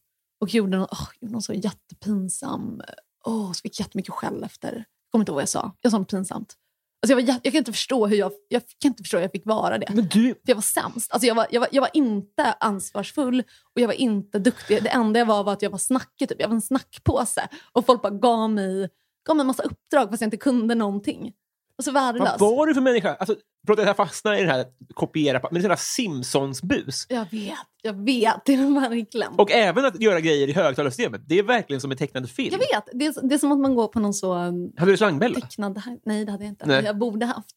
Och gjorde någon, åh, gjorde någon så jättepinsam... Åh, så fick jag jättemycket skäll efter. Jag kommer inte ihåg vad jag sa. Jag sa något pinsamt. Alltså jag, var, jätte- jag kan inte förstå hur jag, jag kan inte förstå hur jag fick vara det. Men du, För jag var sämst. Alltså jag, var, jag, var, jag var inte ansvarsfull och jag var inte duktig. Det enda jag var var att jag var snackig. Typ. Jag var en snackpåse. Och folk bara gav mig, gav mig en massa uppdrag fast jag inte kunde någonting. Och så vad värdelös. var du för människa? Alltså, förlåt att jag fastnar i det här kopiera, men det är sådana Simpsons-bus. Jag vet, jag vet. Det är verkligen. Och även att göra grejer i högtalarsystemet. Det är verkligen som en tecknad film. Jag vet. Det är, det är som att man går på någon så um, Hade du slangbella? tecknad... Nej, det hade jag inte. Nej. Men Jag borde haft.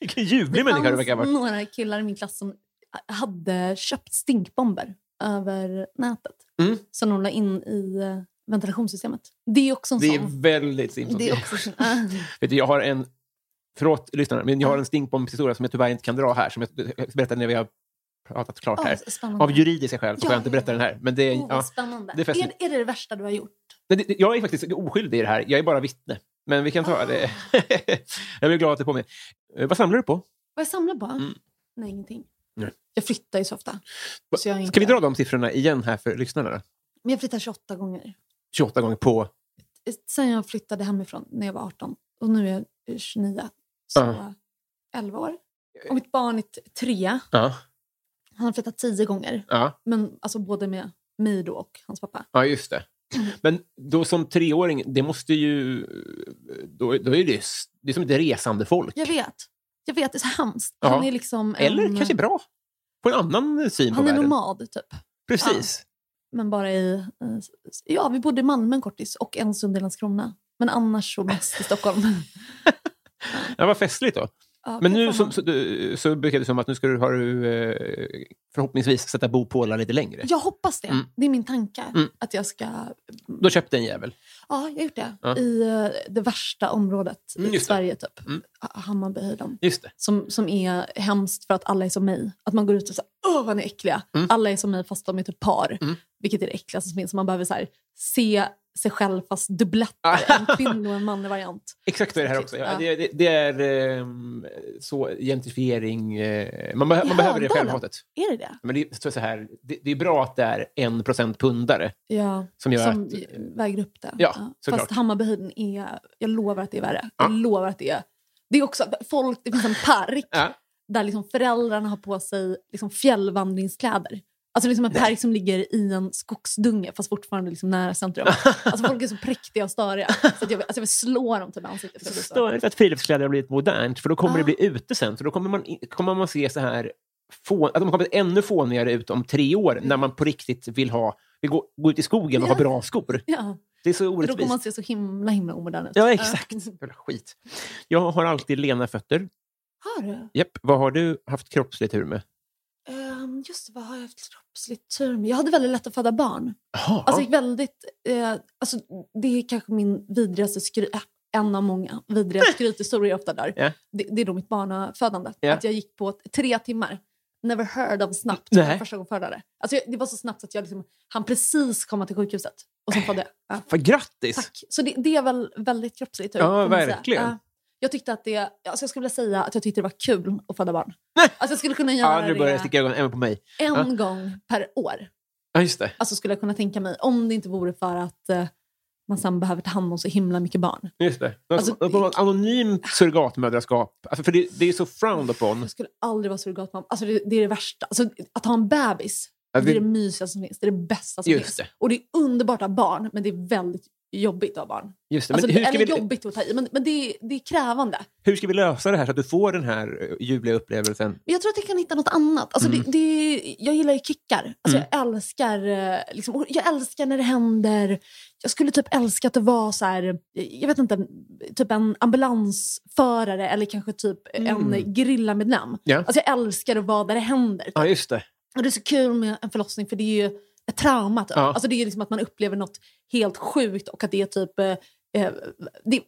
Vilken ljuvlig människa du verkar ha fanns varit. några killar i min klass som hade köpt stinkbomber över nätet. Mm. Som de la in i eh, ventilationssystemet. Det är också en Det sån. är väldigt Simpsons. Det är också sin, Ah, Vet du, jag har en... Förlåt lyssnarna, men jag har en stinkbombshistoria som jag tyvärr inte kan dra här, som jag jag berättar när vi har pratat klart ah, här. så spännande. Av juridiska skäl så får Ja, jag inte ja, berätta den här. Men det är, oh, ja. vad spännande. det är är, festligt. är, det det värsta du har gjort? Nej, det- det- jag är faktiskt oskyldig i det här. Jag är bara vittne. Men vi kan ta det. jag blir glad att det är på mig. Eh, Vad samlar du på? Vad Ah. jag samlar på? Mm. Nej, ingenting. Nej. Jag flyttar ju så ofta. Va- Så jag är Ska vi inte- dra de siffrorna igen här för lyssnarna? då? Men jag flyttar 28 gånger. 28 gånger på... Eh, Sen jag flyttade hemifrån när jag var 18. Och nu är jag 29. Så Ah. 11 år. Och mitt barn är t- tre. Ja, Han har flyttat 10 gånger. ja, Men alltså både med mig då och hans pappa. ja just det. Men då som treåring, det måste ju... Då, då är det, ju s- det är som ett resande folk. Jag vet. Jag vet, det är så hemskt. Ja. Han är liksom... en- Eller kanske bra. På en annan syn på Han är världen. nomad typ. Precis. Men bara i... eh, s- Ja, vi bodde i Malmö en kortis och en stund i Landskrona. Men annars så mest i Stockholm. Ja, vad festligt då. Ja, Men det nu får så, man. så, du- så brukar det som att nu ska du, har du eh, förhoppningsvis sätta bo på Åland lite längre. Jag hoppas det. Mm. Det är min tanke. Mm. Att jag ska... Då köpte en jävel. Ja, jag har gjort det. Ja. I eh, det värsta området Mm, i just det. Sverige typ. Mm. Ha- Hammarbyhöjden. Just det. Som, som är hemskt för att alla är som mig. Att man går ut och säger åh vad ni är äckliga. Mm. Alla är som mig fast de är typ par. Mm. Vilket är det äckligaste som finns. Man behöver så här, se sig själv fast Ah. dubbletter. en kvinna och en manlig variant. Exakt så är det här också. Ja, Ja. det, det, det är ehm, så gentrifiering. eh, man, be- I man behöver det Högdalen. självhatet. Är det det? Men det, är så- så här, det, det är bra att det är en procent pundare Ja, som gör som att... väger upp det. Ja, såklart. Fast Hammarbyhöjden är, jag lovar att det är värre. Jag lovar att det är. Det är också att folk, det finns en park Ja. där liksom föräldrarna har på sig liksom fjällvandringskläder. Alltså liksom en park som ligger i en skogsdunge fast fortfarande liksom nära centrum. Alltså folk är så präktiga och stariga. Så att jag, vill- alltså jag vill slå dem typ i ansiktet. För att det är så. Störigt att friluftskläder har blivit modernt, för då kommer Ah. det bli ute sen. För då kommer man, in- kommer man se så här... Få, att de kommer bli ännu fånigare ut om tre år när man på riktigt vill ha vill gå, gå ut i skogen och ha Ja. bra skor. Ja, Det är så för då kommer orättvist. man se så himla himla omodern ut. Ja, exakt. Ja. Jävla skit. Jag har alltid lena fötter. Äh, Har du? Japp. Vad har du haft kroppslig tur med? Ehm, just det, vad har jag haft kroppsligt tur med? Jag hade väldigt lätt att föda barn. Jaha. Alltså, väldigt, eh, alltså, det är kanske min vidrigaste skry... Äh, en av många vidriga skrythistorier jag ofta där. Ja. Det, det är då mitt barnafödande. Ja. Att jag gick på t- tre timmar. Never heard of snabbt. Nej. när jag Första gången födde. Alltså, jag, det var så snabbt att jag liksom, han precis komma till sjukhuset. Och Äh, sen födde jag. Ja. Fan, grattis! Tack. Så det, det är väl väldigt kroppsligt tur. Ja, får man säga. verkligen. Ja. jag tyckte att det... Alltså, jag skulle vilja säga att jag tyckte det var kul att föda barn. Alltså, jag skulle kunna göra Ja, nu börjar det jag sticka ögonen även på mig. en Ja. gång per år. Ja, just det. Alltså skulle jag kunna tänka mig. Om det inte vore för att eh, man sen behöver ta hand om så himla mycket barn. Just det. Någon, Alltså, någon, någon anonymt surrogatmödraskap. Alltså, för det, det är så frowned upon. Jag skulle aldrig vara surrogatmamma. Alltså det, det är det värsta. Alltså, att ha en bebis, Ja, det är vi- det mysigaste som finns. Det är det bästa som Just finns. det. Och det är underbart att ha barn, men det är väldigt jobbigt att ha barn. Just det. Men Alltså, hur, ska eller vi, jobbigt att ta i, men, men det, är, det är krävande. hur ska vi lösa det här så att du får den här eh, ljuvliga upplevelsen? Men jag tror att jag kan hitta något annat. Alltså, Mm. det, det, är- jag gillar ju kickar. Alltså, Jag älskar eh, liksom, och jag älskar när det händer. Jag skulle typ älska att det var så här, jag vet inte, typ en ambulansförare eller kanske typ en gerillamedlem. Mm. Ja. Alltså, jag älskar att vara där det händer. Ja, just det. Och det är så kul med en förlossning för det är ju ett trauma. Typ. Ja. Alltså, det är liksom att man upplever något helt sjukt och att det är typ... Eh, eh, det,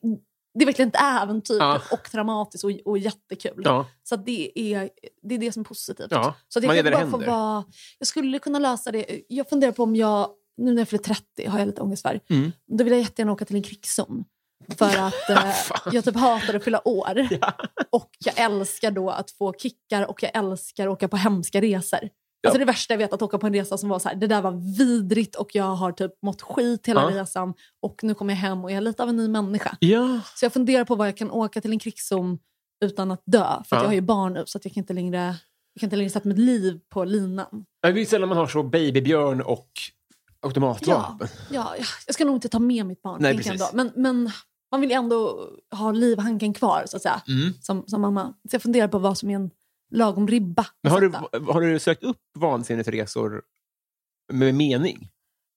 det är verkligen ett äventyr typ, Ja. och traumatiskt och, och jättekul. Ja. Så att det, är, det är det som är positivt. Ja, Så att man jag, vet vad kan bara det få händer. vara, jag skulle kunna lösa det. Jag funderar på om jag, nu när jag fyller 30 har jag lite ångestvärk. Mm. Ah, Då vill jag jättegärna åka till en krigszon. För att eh, jag typ hatar att fylla år. Och jag älskar då att få kickar och jag älskar att åka på hemska resor. Alltså det värsta jag vet att åka på en resa som var så här, det där var vidrigt och jag har typ mått skit hela Ja. resan och nu kommer jag hem och jag är lite av en ny människa. Ja. Så jag funderar på var jag kan åka till en krigszon utan att dö. För att Ja. jag har ju barn nu så att jag kan inte längre, jag kan inte längre sätta mitt liv på linan. Ja, Det är sällan man har så babybjörn och Ja, automatvapen. ja, ja. jag ska nog inte ta med mitt barn. Nej, tänker jag precis. ändå. Men, men man vill ju ändå ha livhanken kvar så att säga. Mm. Som, som mamma. Så jag funderar på vad som är en lagom ribba. att Men har, du, sätta. har du sökt upp vansinnigt resor med mening?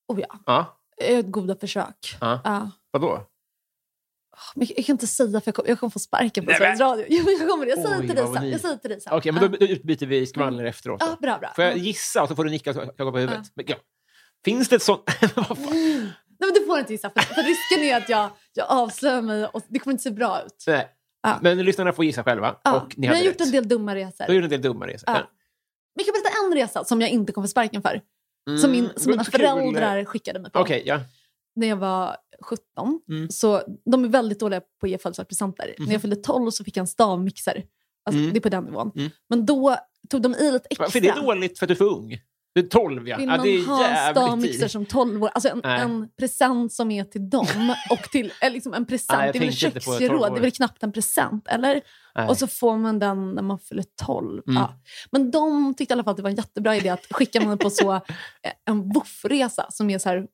Oh, ja. Ja. Eh, Goda försök. Ja. Ja. Vadå? Men jag kan inte säga för jag kommer, jag kommer få sparken på Nej, men- Sveriges Radio. Jo, men jag kommer det. Jag säger Oj, till dig vad sen. ni- Jag säger till dig sen. Okej, men då, då utbyter vi skvaller efteråt. då. Ja, bra, bra. Får jag Ja. gissa och så får du nicka och skaka på huvudet? Men, ja. Finns det ett sånt... Vad fan? Nej, men du får inte gissa. För, för risken är att jag, jag avslöjar mig och det kommer inte se bra ut. Nej. Ja. Men lyssnarna får gissa själva. Ja, Och ni men jag hade har gjort rätt. en del dumma resor. Du har gjort en del dumma resor. Ja. Men jag kan berätta en resa som jag inte kommer få sparken för. Som, min, Mm, som mina så kul. föräldrar skickade mig på. Okej, ja. När jag var 17. Mm. Så de är väldigt dåliga på att ge födelsedagspresenter. Mhm. När jag fyllde 12 så fick jag en stavmixer. Alltså, Mm. Det är på den nivån. Mm. Men då tog de i lite extra. Varför är det dåligt för att du är för ung? Du är 12, ja. Vill ja man det är ha en jävligt stavmixer tidigt. som 12 år? Alltså en, Nej. en present som är till dem och till eh, liksom en present. Nej, jag det är väl tänkte inte på köksgeråd? 12 år. Det är väl knappt en present? Eller? Nej. Och så får man den när man fyller 12. Mm. Ja. Men de tyckte i alla fall att det var en jättebra idé att skicka mig på så, eh, en woffresa som är så här,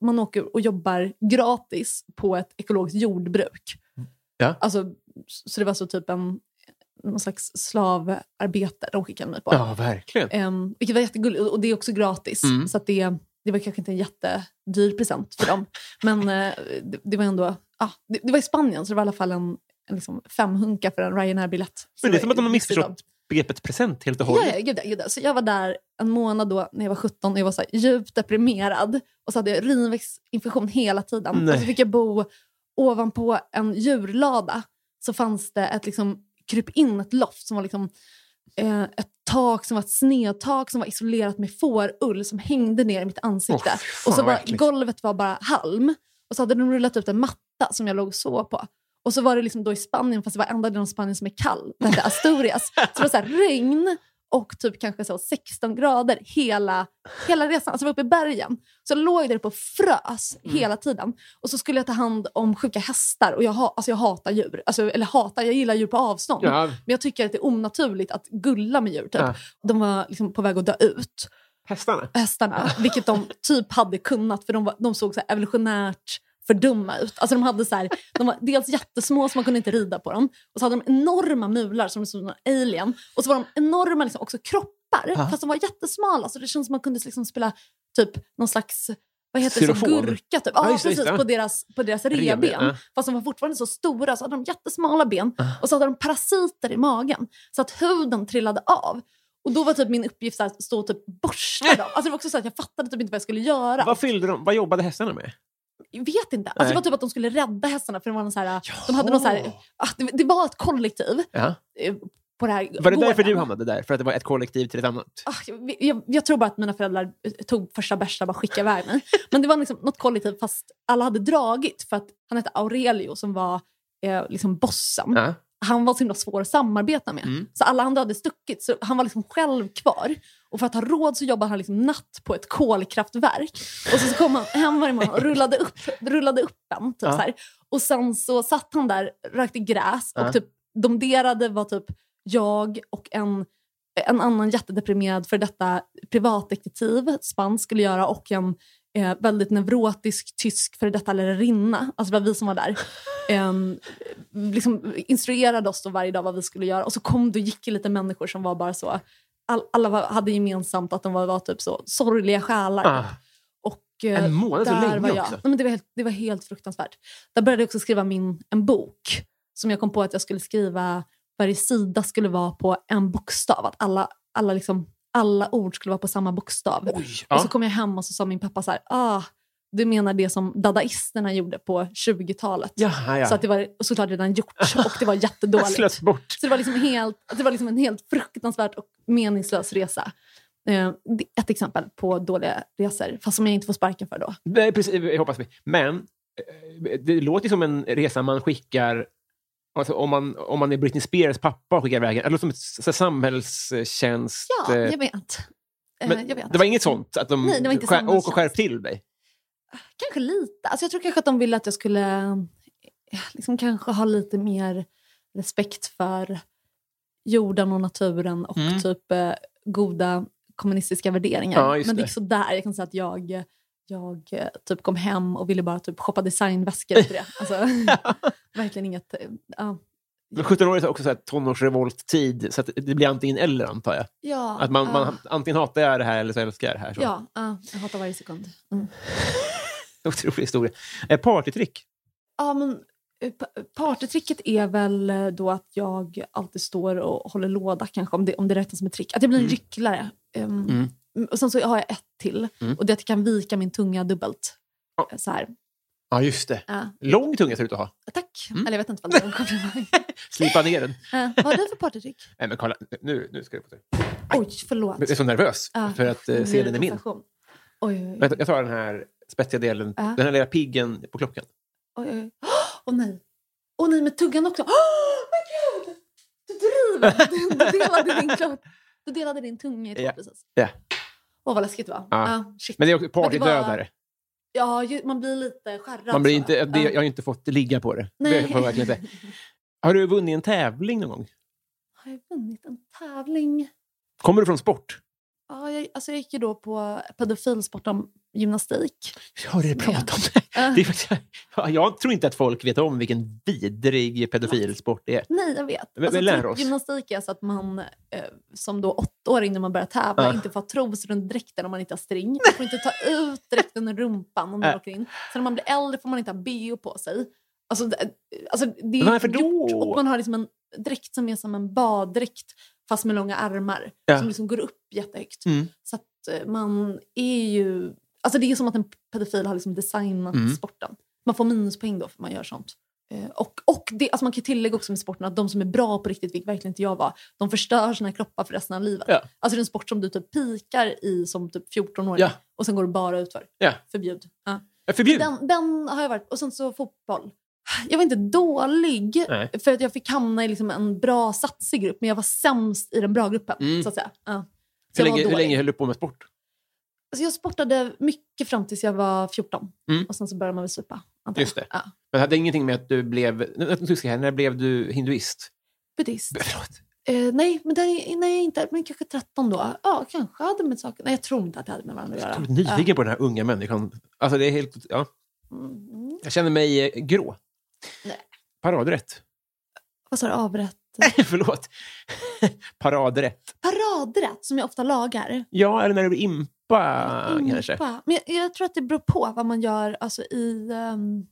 man åker och jobbar gratis på ett ekologiskt jordbruk. Ja. Alltså, så det var så typ en, någon slags slavarbete de skickade mig på. Ja, verkligen. Um, vilket var jättegulligt. Och och det är också gratis. Mm. Så att det, det var kanske inte en jättedyr present för dem. Men eh, det, det var ändå... Ah, det, det var i Spanien, så det var i alla fall en, en liksom femhunka för en Ryanair-biljett. Så Men det är som var att de har lyxigt av missförstått begreppet present helt och Ja, hållet. ja, gud, ja, gud, ja. Så jag var där en månad då när jag var 17 och jag var så här djupt deprimerad. Och så hade jag urinvägsinfektion hela tiden. Nej. Och så fick jag bo ovanpå en djurlada. Så fanns det ett liksom, kryp in, ett loft som var liksom, eh, ett tak som var ett snedtak som var isolerat med fårull som hängde ner i mitt ansikte. Åh, fy fan, och så vad var, äckligt. golvet var bara halm. Och så hade de rullat ut en matta som jag låg och sov på. Och så var det liksom då i Spanien, fast det var enda delen av Spanien som är kall. Det hette Asturias. Så det var så här regn och typ kanske så 16 grader hela, hela resan. Alltså jag var uppe i bergen. Så jag låg där uppe och frös Mm. hela tiden. Och så skulle jag ta hand om sjuka hästar. Och jag, ha, alltså jag hatar djur. Alltså, eller hatar, jag gillar djur på avstånd. Ja. Men jag tycker att det är onaturligt att gulla med djur. Typ. Ja. De var liksom på väg att dö ut. Hästarna? hästarna, vilket de typ hade kunnat för de, var, de såg så här evolutionärt för dumma ut. Alltså de, hade så här, de var dels jättesmå så man kunde inte rida på dem och så hade de enorma mular som såg ut som en alien och så var de enorma liksom, också kroppar Ja. fast de var jättesmala så det känns som man kunde liksom spela typ någon slags vad heter det, som Xylofon. gurka typ. Ja, Ja, just det, just precis, det. på deras, på deras Revben, revben. ja. Fast de var fortfarande så stora så hade de jättesmala ben Ah. och så hade de parasiter i magen så att huden trillade av. Och då var typ min uppgift så här att stå och typ borsta dem. Alltså det var också så att jag fattade typ inte vad jag skulle göra. Vad, fyllde de, vad jobbade hästarna med? Jag vet inte. Alltså Nej. det var typ att de skulle rädda hästarna för det var någon så här, de hade någon så här, ah, det, det var ett kollektiv Ja. eh, på det här Var det därför gården. du hamnade där? För att det var ett kollektiv till ett annat? Ah, jag, jag, jag tror bara att mina föräldrar eh, tog första bästa och bara skickade iväg mig. Men det var liksom något kollektiv fast alla hade dragit för att han hette Aurelio som var eh, liksom bossen. Ja. han var så himla svår att samarbeta med. Mm. Så alla andra hade stuckit, så han var liksom själv kvar. Och för att ha råd så jobbade han liksom natt på ett kolkraftverk. Och så, så kom han hem varje morgon och rullade upp, rullade upp en. Typ, Ja. så här. Och sen så satt han där, rökte gräs och Ja. typ, de derade var typ jag och en, en annan jättedeprimerad för detta privatdetektiv, spansk, skulle göra och en eh, väldigt neurotisk tysk för detta lärarinna. Alltså det var vi som var där. Em, liksom instruerade oss då varje dag vad vi skulle göra. Och så kom det och gick lite människor som var bara så... All, alla var, hade gemensamt att de var, var typ så sorgliga själar. Ah, Och, eh, en månad så där länge var jag. också. Nej, men det, var helt, det var helt fruktansvärt. Där började jag också skriva min, en bok som jag kom på att jag skulle skriva. Varje sida skulle vara på en bokstav. Att alla, alla, liksom, alla ord skulle vara på samma bokstav. Oj! Och Ja. så kom jag hem och så sa min pappa så här, ah, du menar det som dadaisterna gjorde på 20-talet. Jaha, ja. Alltså, Så att det var såklart redan gjort och det var Jag jättedåligt. slöts bort. Så det var, liksom helt, det var liksom en helt fruktansvärt och meningslös resa. Eh, det är ett exempel på dåliga resor, fast som jag inte får sparken för då. Nej, precis, det hoppas vi. Men eh, det låter ju som en resa man skickar... Alltså om, man, om man är Britney Spears pappa och skickar iväg en- Det låter som ett s- s- samhällstjänst. Ja, eh, jag vet. Eh, men jag vet. Det var inget sånt? Att de Nej, det var inte skär, samhällstjänst. åker och skärp till dig? Kanske lite. Alltså jag tror kanske att de ville att jag skulle eh, liksom kanske ha lite mer respekt för jorden och naturen och Mm. typ eh, goda kommunistiska värderingar. Ja, just Men det det. gick sådär. Jag kan säga att jag, jag eh, typ kom hem och ville bara typ shoppa designväskor efter det. Alltså, verkligen inget... eh, Ja. Men 17 år är också så här tonårsrevolt-tid, så att det blir antingen eller antar jag. Ja, Att man, ja. man, antingen hatar jag det här eller så älskar jag det här. Så. Ah. Ja, ja, jag hatar varje sekund. Mm. Otrolig historia. Eh, Partytrick. Ja, men eh, pa- partytricket är väl eh, då att jag alltid står och håller låda kanske, om det, om det räknas som ett trick. Att jag blir en Mm. gycklare. Ehm, Mm. Och sen så har jag ett till Mm. och det är att jag kan vika min tunga dubbelt. Ja. Eh, Så här. Ja, just det. Ja, Lång tunga ser ut att ha. tack. Mm. Eller jag vet inte vad det är. komplimang. Slipa ner den. Eh, vad har du för partytrick? Nej, men Karla, nu, nu ska du få se. Oj, förlåt. Jag är så nervös Ja. för att eh, scenen är min. Konfrontation. Oj, oj, oj. Vänta, jag tar den här spetsiga delen. Ja. Den här lilla piggen på klockan. Oj, oj. Åh nej. Åh nej, med tuggan också. Åh, men gud! Du driver! Du, du, delade din, klo- du delade din tunga i två Ja. precis. Ja. Åh, vad läskigt va? Ja. Ja, shit. Men det är också Men det var- partydödare. Ja, ju, man blir lite skärrad. Man blir så. inte, det, Ja. jag har ju inte fått ligga på det. Nej. det får jag verkligen inte. Har du vunnit en tävling någon gång? Har jag vunnit en tävling? Kommer du från sport? Ja, jag, alltså jag gick ju då på pedofilsport om gymnastik. Jag hörde dig prata om det. Ja. det är faktiskt, Ja, jag tror inte att folk vet om vilken vidrig pedofilsport det är. Nej, jag vet. Men- men lär typ oss. Gymnastik är så att man eh, som då åttaåring när man börjar tävla Ja. inte får ha trosor under dräkten om man inte har string. Man får inte ta ut dräkten ur rumpan om man Äh. åker in. Sen när man blir äldre får man inte ha bh på sig. Alltså, det, alltså, det är Men varför då? gjort. Och man har liksom en dräkt som är som en baddräkt fast med långa ärmar Ja. som liksom går upp jättehögt. Mm. Så att eh, man är ju... Alltså det är som att en pedofil har liksom designat Mm. sporten. Man får minuspoäng då för man gör sånt. Eh, Och, och det, alltså man kan tillägga också med sporten att de som är bra på riktigt, vilket verkligen inte jag var, de förstör sina kroppar för resten av livet. Ja. Alltså det är en sport som du typ pikar i som typ 14-åring Ja. och sen går du bara utför. Ja. Förbjud. Ja. Ja, Förbjud. Den, den har jag varit. Och sen så fotboll. Jag var inte dålig Nej. för att jag fick hamna i liksom en bra satsig grupp men jag var sämst i den bra gruppen. Mm. Så att säga. Ja. Så Hur, jag var länge, hur dålig. länge höll du på med sport? Alltså jag sportade mycket fram tills jag var 14. Mm. Och sen så började man väl supa. antar jag. Just det. Ja. Men det hade ingenting med att du blev... nu- nu ska jag säga, När blev du hinduist? Buddhist. Förlåt. Eh, nej, men den, nej, inte. Men kanske 13 då. Ja, kanske hade med saker... Nej, jag tror inte att det hade med varandra att göra. Jag är nyfiken på den här unga människan. Alltså, det är helt, ja. Ja. Mm, mm. Jag känner mig eh, grå. Nej. Paradrätt. Vad sa du? Avrätt? Förlåt. Paradrätt. Paradrätt, som jag ofta lagar. Ja, eller när det blir impa, Mm, kanske. fan. Men jag, jag tror att det beror på vad man gör alltså i, um,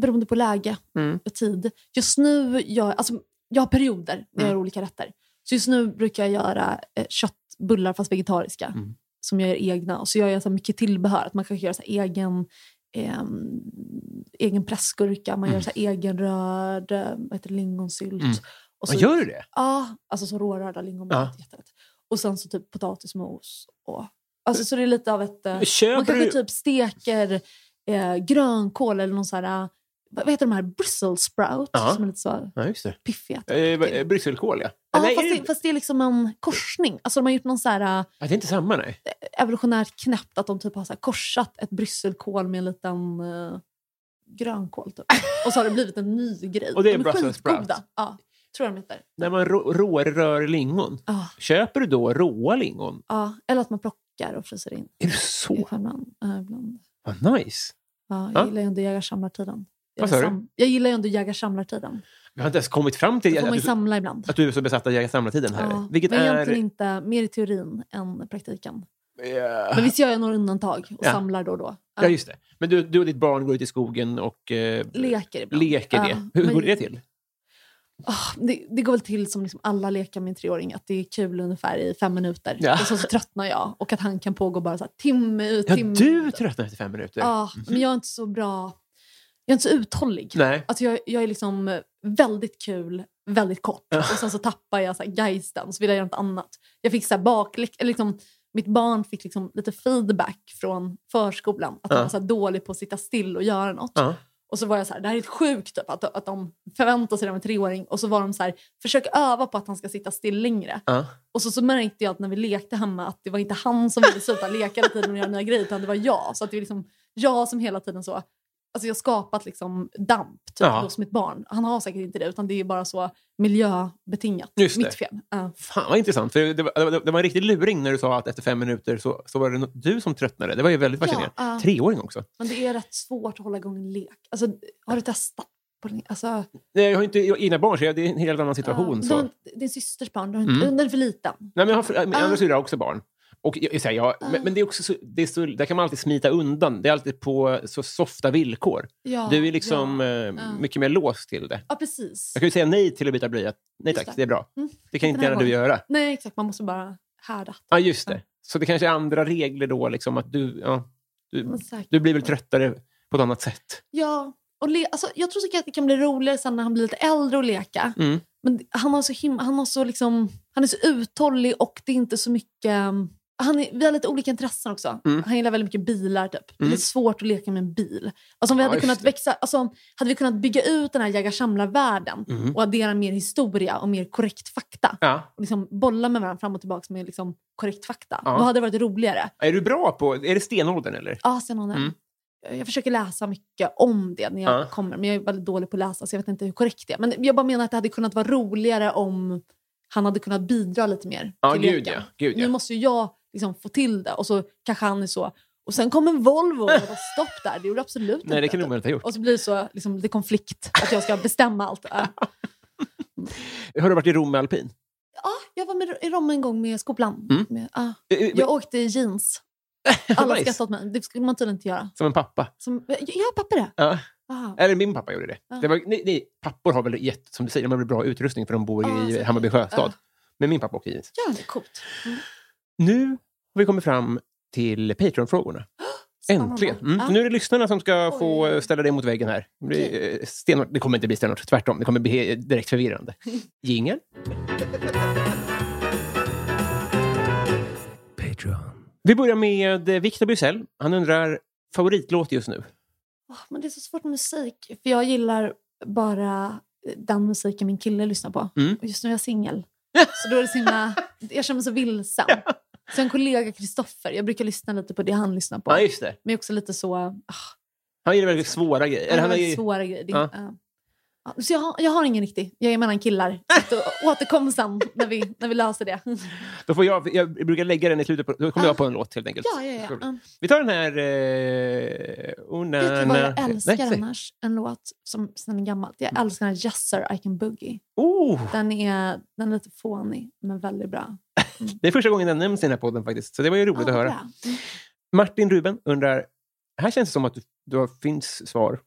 beroende på läge Mm. och tid. Just nu gör, alltså, jag har perioder när jag Mm. gör olika rätter. Så just nu brukar jag göra eh, köttbullar fast vegetariska Mm. som jag gör egna. Och så gör jag så här mycket tillbehör. Att man kanske gör så här egen, ehm, egen pressgurka, man gör Mm. så här egen röd eh, vad heter det, lingonsylt. Mm. Och Ja, så, Gör du det? Ja, alltså så rårörda lingonblad. jättelätt. Och sen så typ potatismos. Och, alltså så det är lite av ett... eh, man Köper kanske du... typ steker eh, grönkål eller någon så här... eh, Vad heter de här? Bristle sprouts Ja. som är lite så Ja, just det. piffiga. typ. Eh, vad- eh, Brysselkål, ja. Ja, nej, fast, är det... det, fast det är liksom en korsning. Alltså de har gjort någon så här eh, Ja, det är inte samma, nej. evolutionärt knäppt att de typ har så här korsat ett brysselkål med en liten eh, grönkål. Typ. Och så har det blivit en ny grej. Och det är De Brussels skitgoda. sprouts. Ja, tror jag de heter. När man rå- rårör lingon, Ja, köper du då råa lingon? ja. Eller att man plockar och fryser in Är du i så? stjärnan. eh, ibland. Vad nice. Ja, jag Ja. gillar ju ändå jägar-samlartiden. Vad sa du? Sam- Jag gillar ju ändå jägar-samlartiden. Vi har inte ens kommit fram Då till får att man ju du, samla ibland. att du är så besatt av jägar-samlartiden. här. Ja, Vilket men är... egentligen inte mer i teorin än i praktiken. Eh, Men visst gör jag några undantag och Ja. samlar då och då. Ja, Ja, just det. Men du, du och ditt barn går ut i skogen och eh, Leker ibland. leker det. Ja, Hur men- går det till? Ah, det, det går väl till som liksom alla lekar med en treåring, att det är kul ungefär i fem minuter. Ja. Och så, så tröttnar jag och att han kan pågå bara så här, timme ut, Ja, timme du typ. ut. tröttnar efter fem minuter. Ja, men jag är inte så bra. Jag är inte så uthållig. Nej. Alltså jag, jag är liksom väldigt kul, väldigt kort. Och sen så tappar jag så här geisten, så vill jag göra något annat. Jag fick så här bakläx- eller liksom, mitt barn fick liksom lite feedback från förskolan. Att Ja. han var så här dålig på att sitta still och göra något. Ja. Och så var jag så här, det här är ett sjukt typ, att, att de förväntar sig det av en treåring. Och så var de så här, försök öva på att han ska sitta still längre. Ja. Och så, så märkte jag att när vi lekte hemma att det var inte han som ville sluta leka hela tiden och göra nya grejer utan det var jag. Så att det är liksom jag som hela tiden så... Alltså jag har skapat liksom damp typ, Ja. hos mitt barn. Han har säkert inte det utan det är bara så miljöbetingat. Just det. Mitt fel. Ja. Fan vad intressant. För det, var, det, var, det var en riktig luring när du sa att efter fem minuter så, så var det no- du som tröttnade. Det var ju väldigt fascinerande. Ja, ja. Treåring också. men det är rätt svårt att hålla igång en lek. Alltså, har du testat? På din, alltså, Nej, jag har inte jag- egna barn så jag, det är en helt annan situation. ja, så. du har- Din systers barn, du har inte, Mm. den är för liten. Nej, men jag har, för- min andra Ah. syrra har också barn. Och jag, jag, säger, jag, men, men det är också så, det är så, där kan man alltid smita undan. Det är alltid på så softa villkor. Ja, du är liksom Ja, eh, mycket mer låst till det. ja precis. Jag kan ju säga nej till att byta blöja. Nej Just tack, det. det är bra. Mm. Det kan Den inte här gärna du gången. göra. Nej, exakt. Man måste bara härda. Ja, just det. Så det kanske är andra regler då. Liksom, att du, ja, du, Men säkert. du blir väl tröttare på ett annat sätt. Ja, och le- alltså, jag tror säkert att det kan bli roligare sen när han blir lite äldre och leka. Mm. Men han, har så him- han, har så liksom, han är så uthållig och det är inte så mycket... um, Han är, vi har lite olika intressen också. Mm. Han gillar väldigt mycket bilar. Typ. Det är Mm. lite svårt att leka med en bil. Alltså, om vi Ja, hade, just kunnat det. växa, alltså, om- hade vi kunnat bygga ut den här jägar-samlar-världen Mm. och addera mer historia och mer korrekt fakta Ja. och liksom bolla med varandra fram och tillbaka med liksom korrekt fakta. Ja. Vad hade varit roligare? Är du bra på... Är det stenåldern eller? Ja, sen hon är. Mm. Jag försöker läsa mycket om det när jag Ja. kommer, men jag är väldigt dålig på att läsa så jag vet inte hur korrekt det är. Men jag bara menar att det hade kunnat vara roligare om han hade kunnat bidra lite mer Ja, till gud leken. ja. Gud, Nu ja. måste ju jag liksom få till det och så kanske han är så, och sen kom en Volvo och jag bara, stopp där, det gjorde absolut Nej, det inte. kan du omöjligt ha gjort. och så blir det så, liksom, lite konflikt, att jag ska bestämma allt. Ja. Har du varit i Rom med alpin? Jag var med i Rom en gång med skolan. Mm. Med, ja. Eh, eh, Jag åkte i jeans. Alla Nice. skrattade åt mig. Det skulle man tydligen inte göra. Som en pappa? Som, jag har papper det. Ja. Ah. Eller min pappa gjorde det. Ja. det var, nej, nej, pappor har väl, jätte, som du säger, de har väl bra utrustning för de bor Ja, i säkert. Hammarby sjöstad. Ja. Men min pappa åkte jeans. Ja, det är coolt. Mm. Nu har vi kommit fram till Patreon-frågorna. Spännande. Äntligen! Mm. Ja. Så Nu är det lyssnarna som ska Oj. få eh, ställa dig mot väggen här. Det, blir, eh, stenhårt. det kommer inte bli stenhårt, tvärtom. Det kommer bli eh, direkt förvirrande. Jingel. Patreon. Vi börjar med eh, Victor Bysell. Han undrar favoritlåt just nu. Åh, men det är så svårt med musik. För jag gillar bara den musiken min kille lyssnar på. Mm. Och just nu är jag singel. Så då är det så himla... Jag känner mig så vilsen. Så en kollega, Kristoffer, jag brukar lyssna lite på det han lyssnar på. Ja, just det. Men jag är också lite så... ah, Han gillar väldigt svåra grejer. Eller han han har är, svåra grejer. Det är- Ja. ja. Ja, Så jag, har- jag har ingen riktig. Jag är mellan killar. Så att å- Återkom sen när vi, när vi löser det. Då får jag, jag brukar lägga den i slutet, på, då kommer Ja. jag på en låt helt enkelt. Ja, ja, ja. Mm. Vi tar den här... Eh, oh, na, Vet du vad jag na. älskar Nej, säg. annars? En låt som sen är gammalt. Jag älskar den här Yes Sir I Can Boogie. Oh, Den är, den är lite fånig, men väldigt bra. det är första gången den nämns i den här podden faktiskt, så det var ju roligt Ja, att höra. bra. Martin Ruben undrar, här känns det som att du, du har, finns svar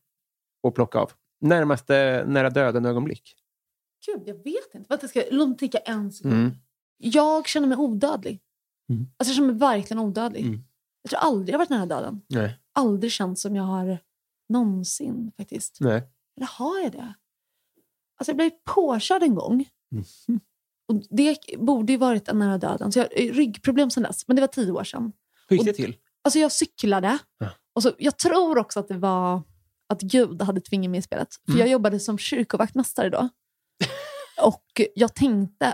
att plocka av. Närmaste nära döden-ögonblick. Gud, jag vet inte. Vänta, ska jag, låt mig tänka en sekund. Mm. Jag känner mig odödlig. Mm. Alltså, jag känner mig verkligen odödlig. Mm. Jag tror aldrig jag har varit nära döden. Nej. Aldrig känt som jag har någonsin faktiskt. Nej. Eller har jag det? Alltså jag blev påkörd en gång. Mm. Och det borde ju varit en nära döden. Så jag har ryggproblem sedan dess, men det var tio år sedan. Hur gick Och- det till? Alltså jag cyklade. Ja. Och så, jag tror också att det var att Gud hade tvingat mig i spelet. För Mm. jag jobbade som kyrkovaktmästare då. och jag tänkte,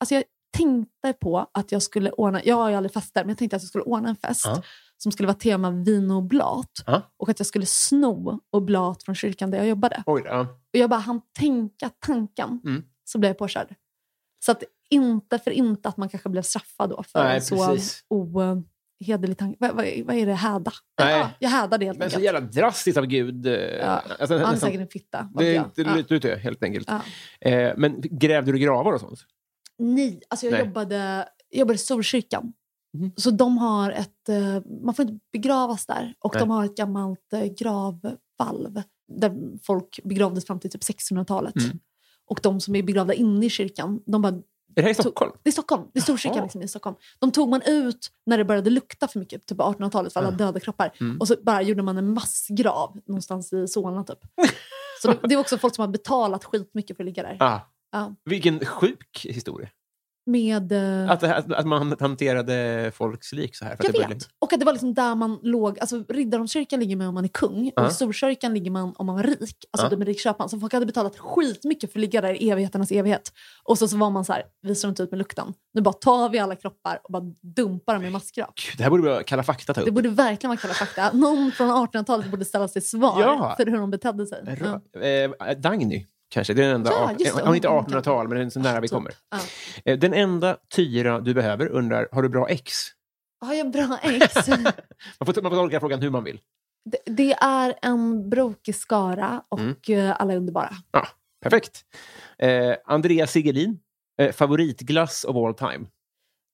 alltså jag tänkte på att jag skulle ordna, jag har ju aldrig fester, men jag tänkte att jag skulle ordna en fest Ja. som skulle vara tema vin och blat. Ja. Och att jag skulle sno oblat från kyrkan där jag jobbade. Oj då. ja. Och jag bara hann tänka tanken, Mm. så blev jag påkörd. Så att inte för inte att man kanske blev straffad då för Nej, en så precis. ohederlig tanke. Vad, vad, vad är det? Häda? Nej. Ja, jag hädade helt Men så enkelt. jävla drastiskt av Gud. eh, alltså, Han är nästan- säkert en fitta. vad det är vet inte jag. ja. lite ut det, helt enkelt. Ja. Eh, men grävde du gravar och sånt? Nej, alltså jag Nej. jobbade, jag jobbade i Storkyrkan. Mhm. Så de har ett, eh, man får inte begravas där. Och Nej. de har ett gammalt eh, gravvalv där folk begravdes fram till typ 600-talet. Mm. Och de som är begravda inne i kyrkan, de bara Är det här i Så- Stockholm? Det är Stockholm. Det är Storkyrkan Jaha. liksom, i Stockholm. De tog man ut när det började lukta för mycket, typ på 1800-talet, för alla Mm. döda kroppar. Mm. Och så bara gjorde man en massgrav någonstans i Solna typ. Så det, det är också folk som har betalat skitmycket för att ligga där. Ah. Ja. Vilken sjuk historia. Med... eh, Att, det här- att man hanterade folks lik så här. För jag att det började- vet! Och att det var liksom där man låg... Alltså Riddarholmskyrkan ligger man om man är kung. Och Ja. i Storkyrkan ligger man om man var rik. Alltså Ja. uh. med rikköparen. Så folk hade betalat skitmycket för att ligga där i evigheternas evighet. Och så, så var man så här, vi står inte ut med lukten. Nu bara tar vi alla kroppar och bara dumpar dem i massgrav. Gud, det här borde vara Kalla fakta ta upp. Det borde verkligen vara Kalla fakta. Någon från 1800-talet borde ställa sig svar Ja. för hur de betedde sig. Ja. Rö- eh, Dagny, kanske. Det är den enda... Ja, just det. Ja, inte 1800-tal, men det är så nära vi Typ. kommer. Ja. Eh, Den enda tyra du behöver undrar, har du bra ex? Har jag bra ex? Man får, man får tolka frågan hur man vill. det, det är en brokig skara Mm. och eh, alla är underbara. Perfekt. Eh, Andreas Sigelin, eh, favoritglass of all time.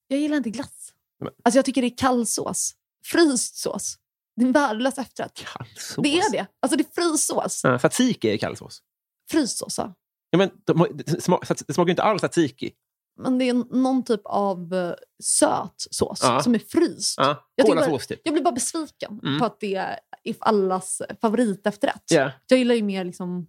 Jag gillar inte glass. Men- Alltså jag tycker det är kallsås. Fryst sås. Det är en värdelös efterrätt. Kallsås. Det är det. Alltså det är frysås. Ja, tzatziki är kallsås. Fryst sås, ja. Ja, men de, har- det sma- tzatz- det smakar ju inte alls tzatziki. Men det är en- någon typ av eh, söt sås Ja. som är fryst. Ja, Jag tycker kolasås, typ. Jag blir bara besviken Mm. på att det är allas favoritefterrätt. Ja. Jag gillar ju mer liksom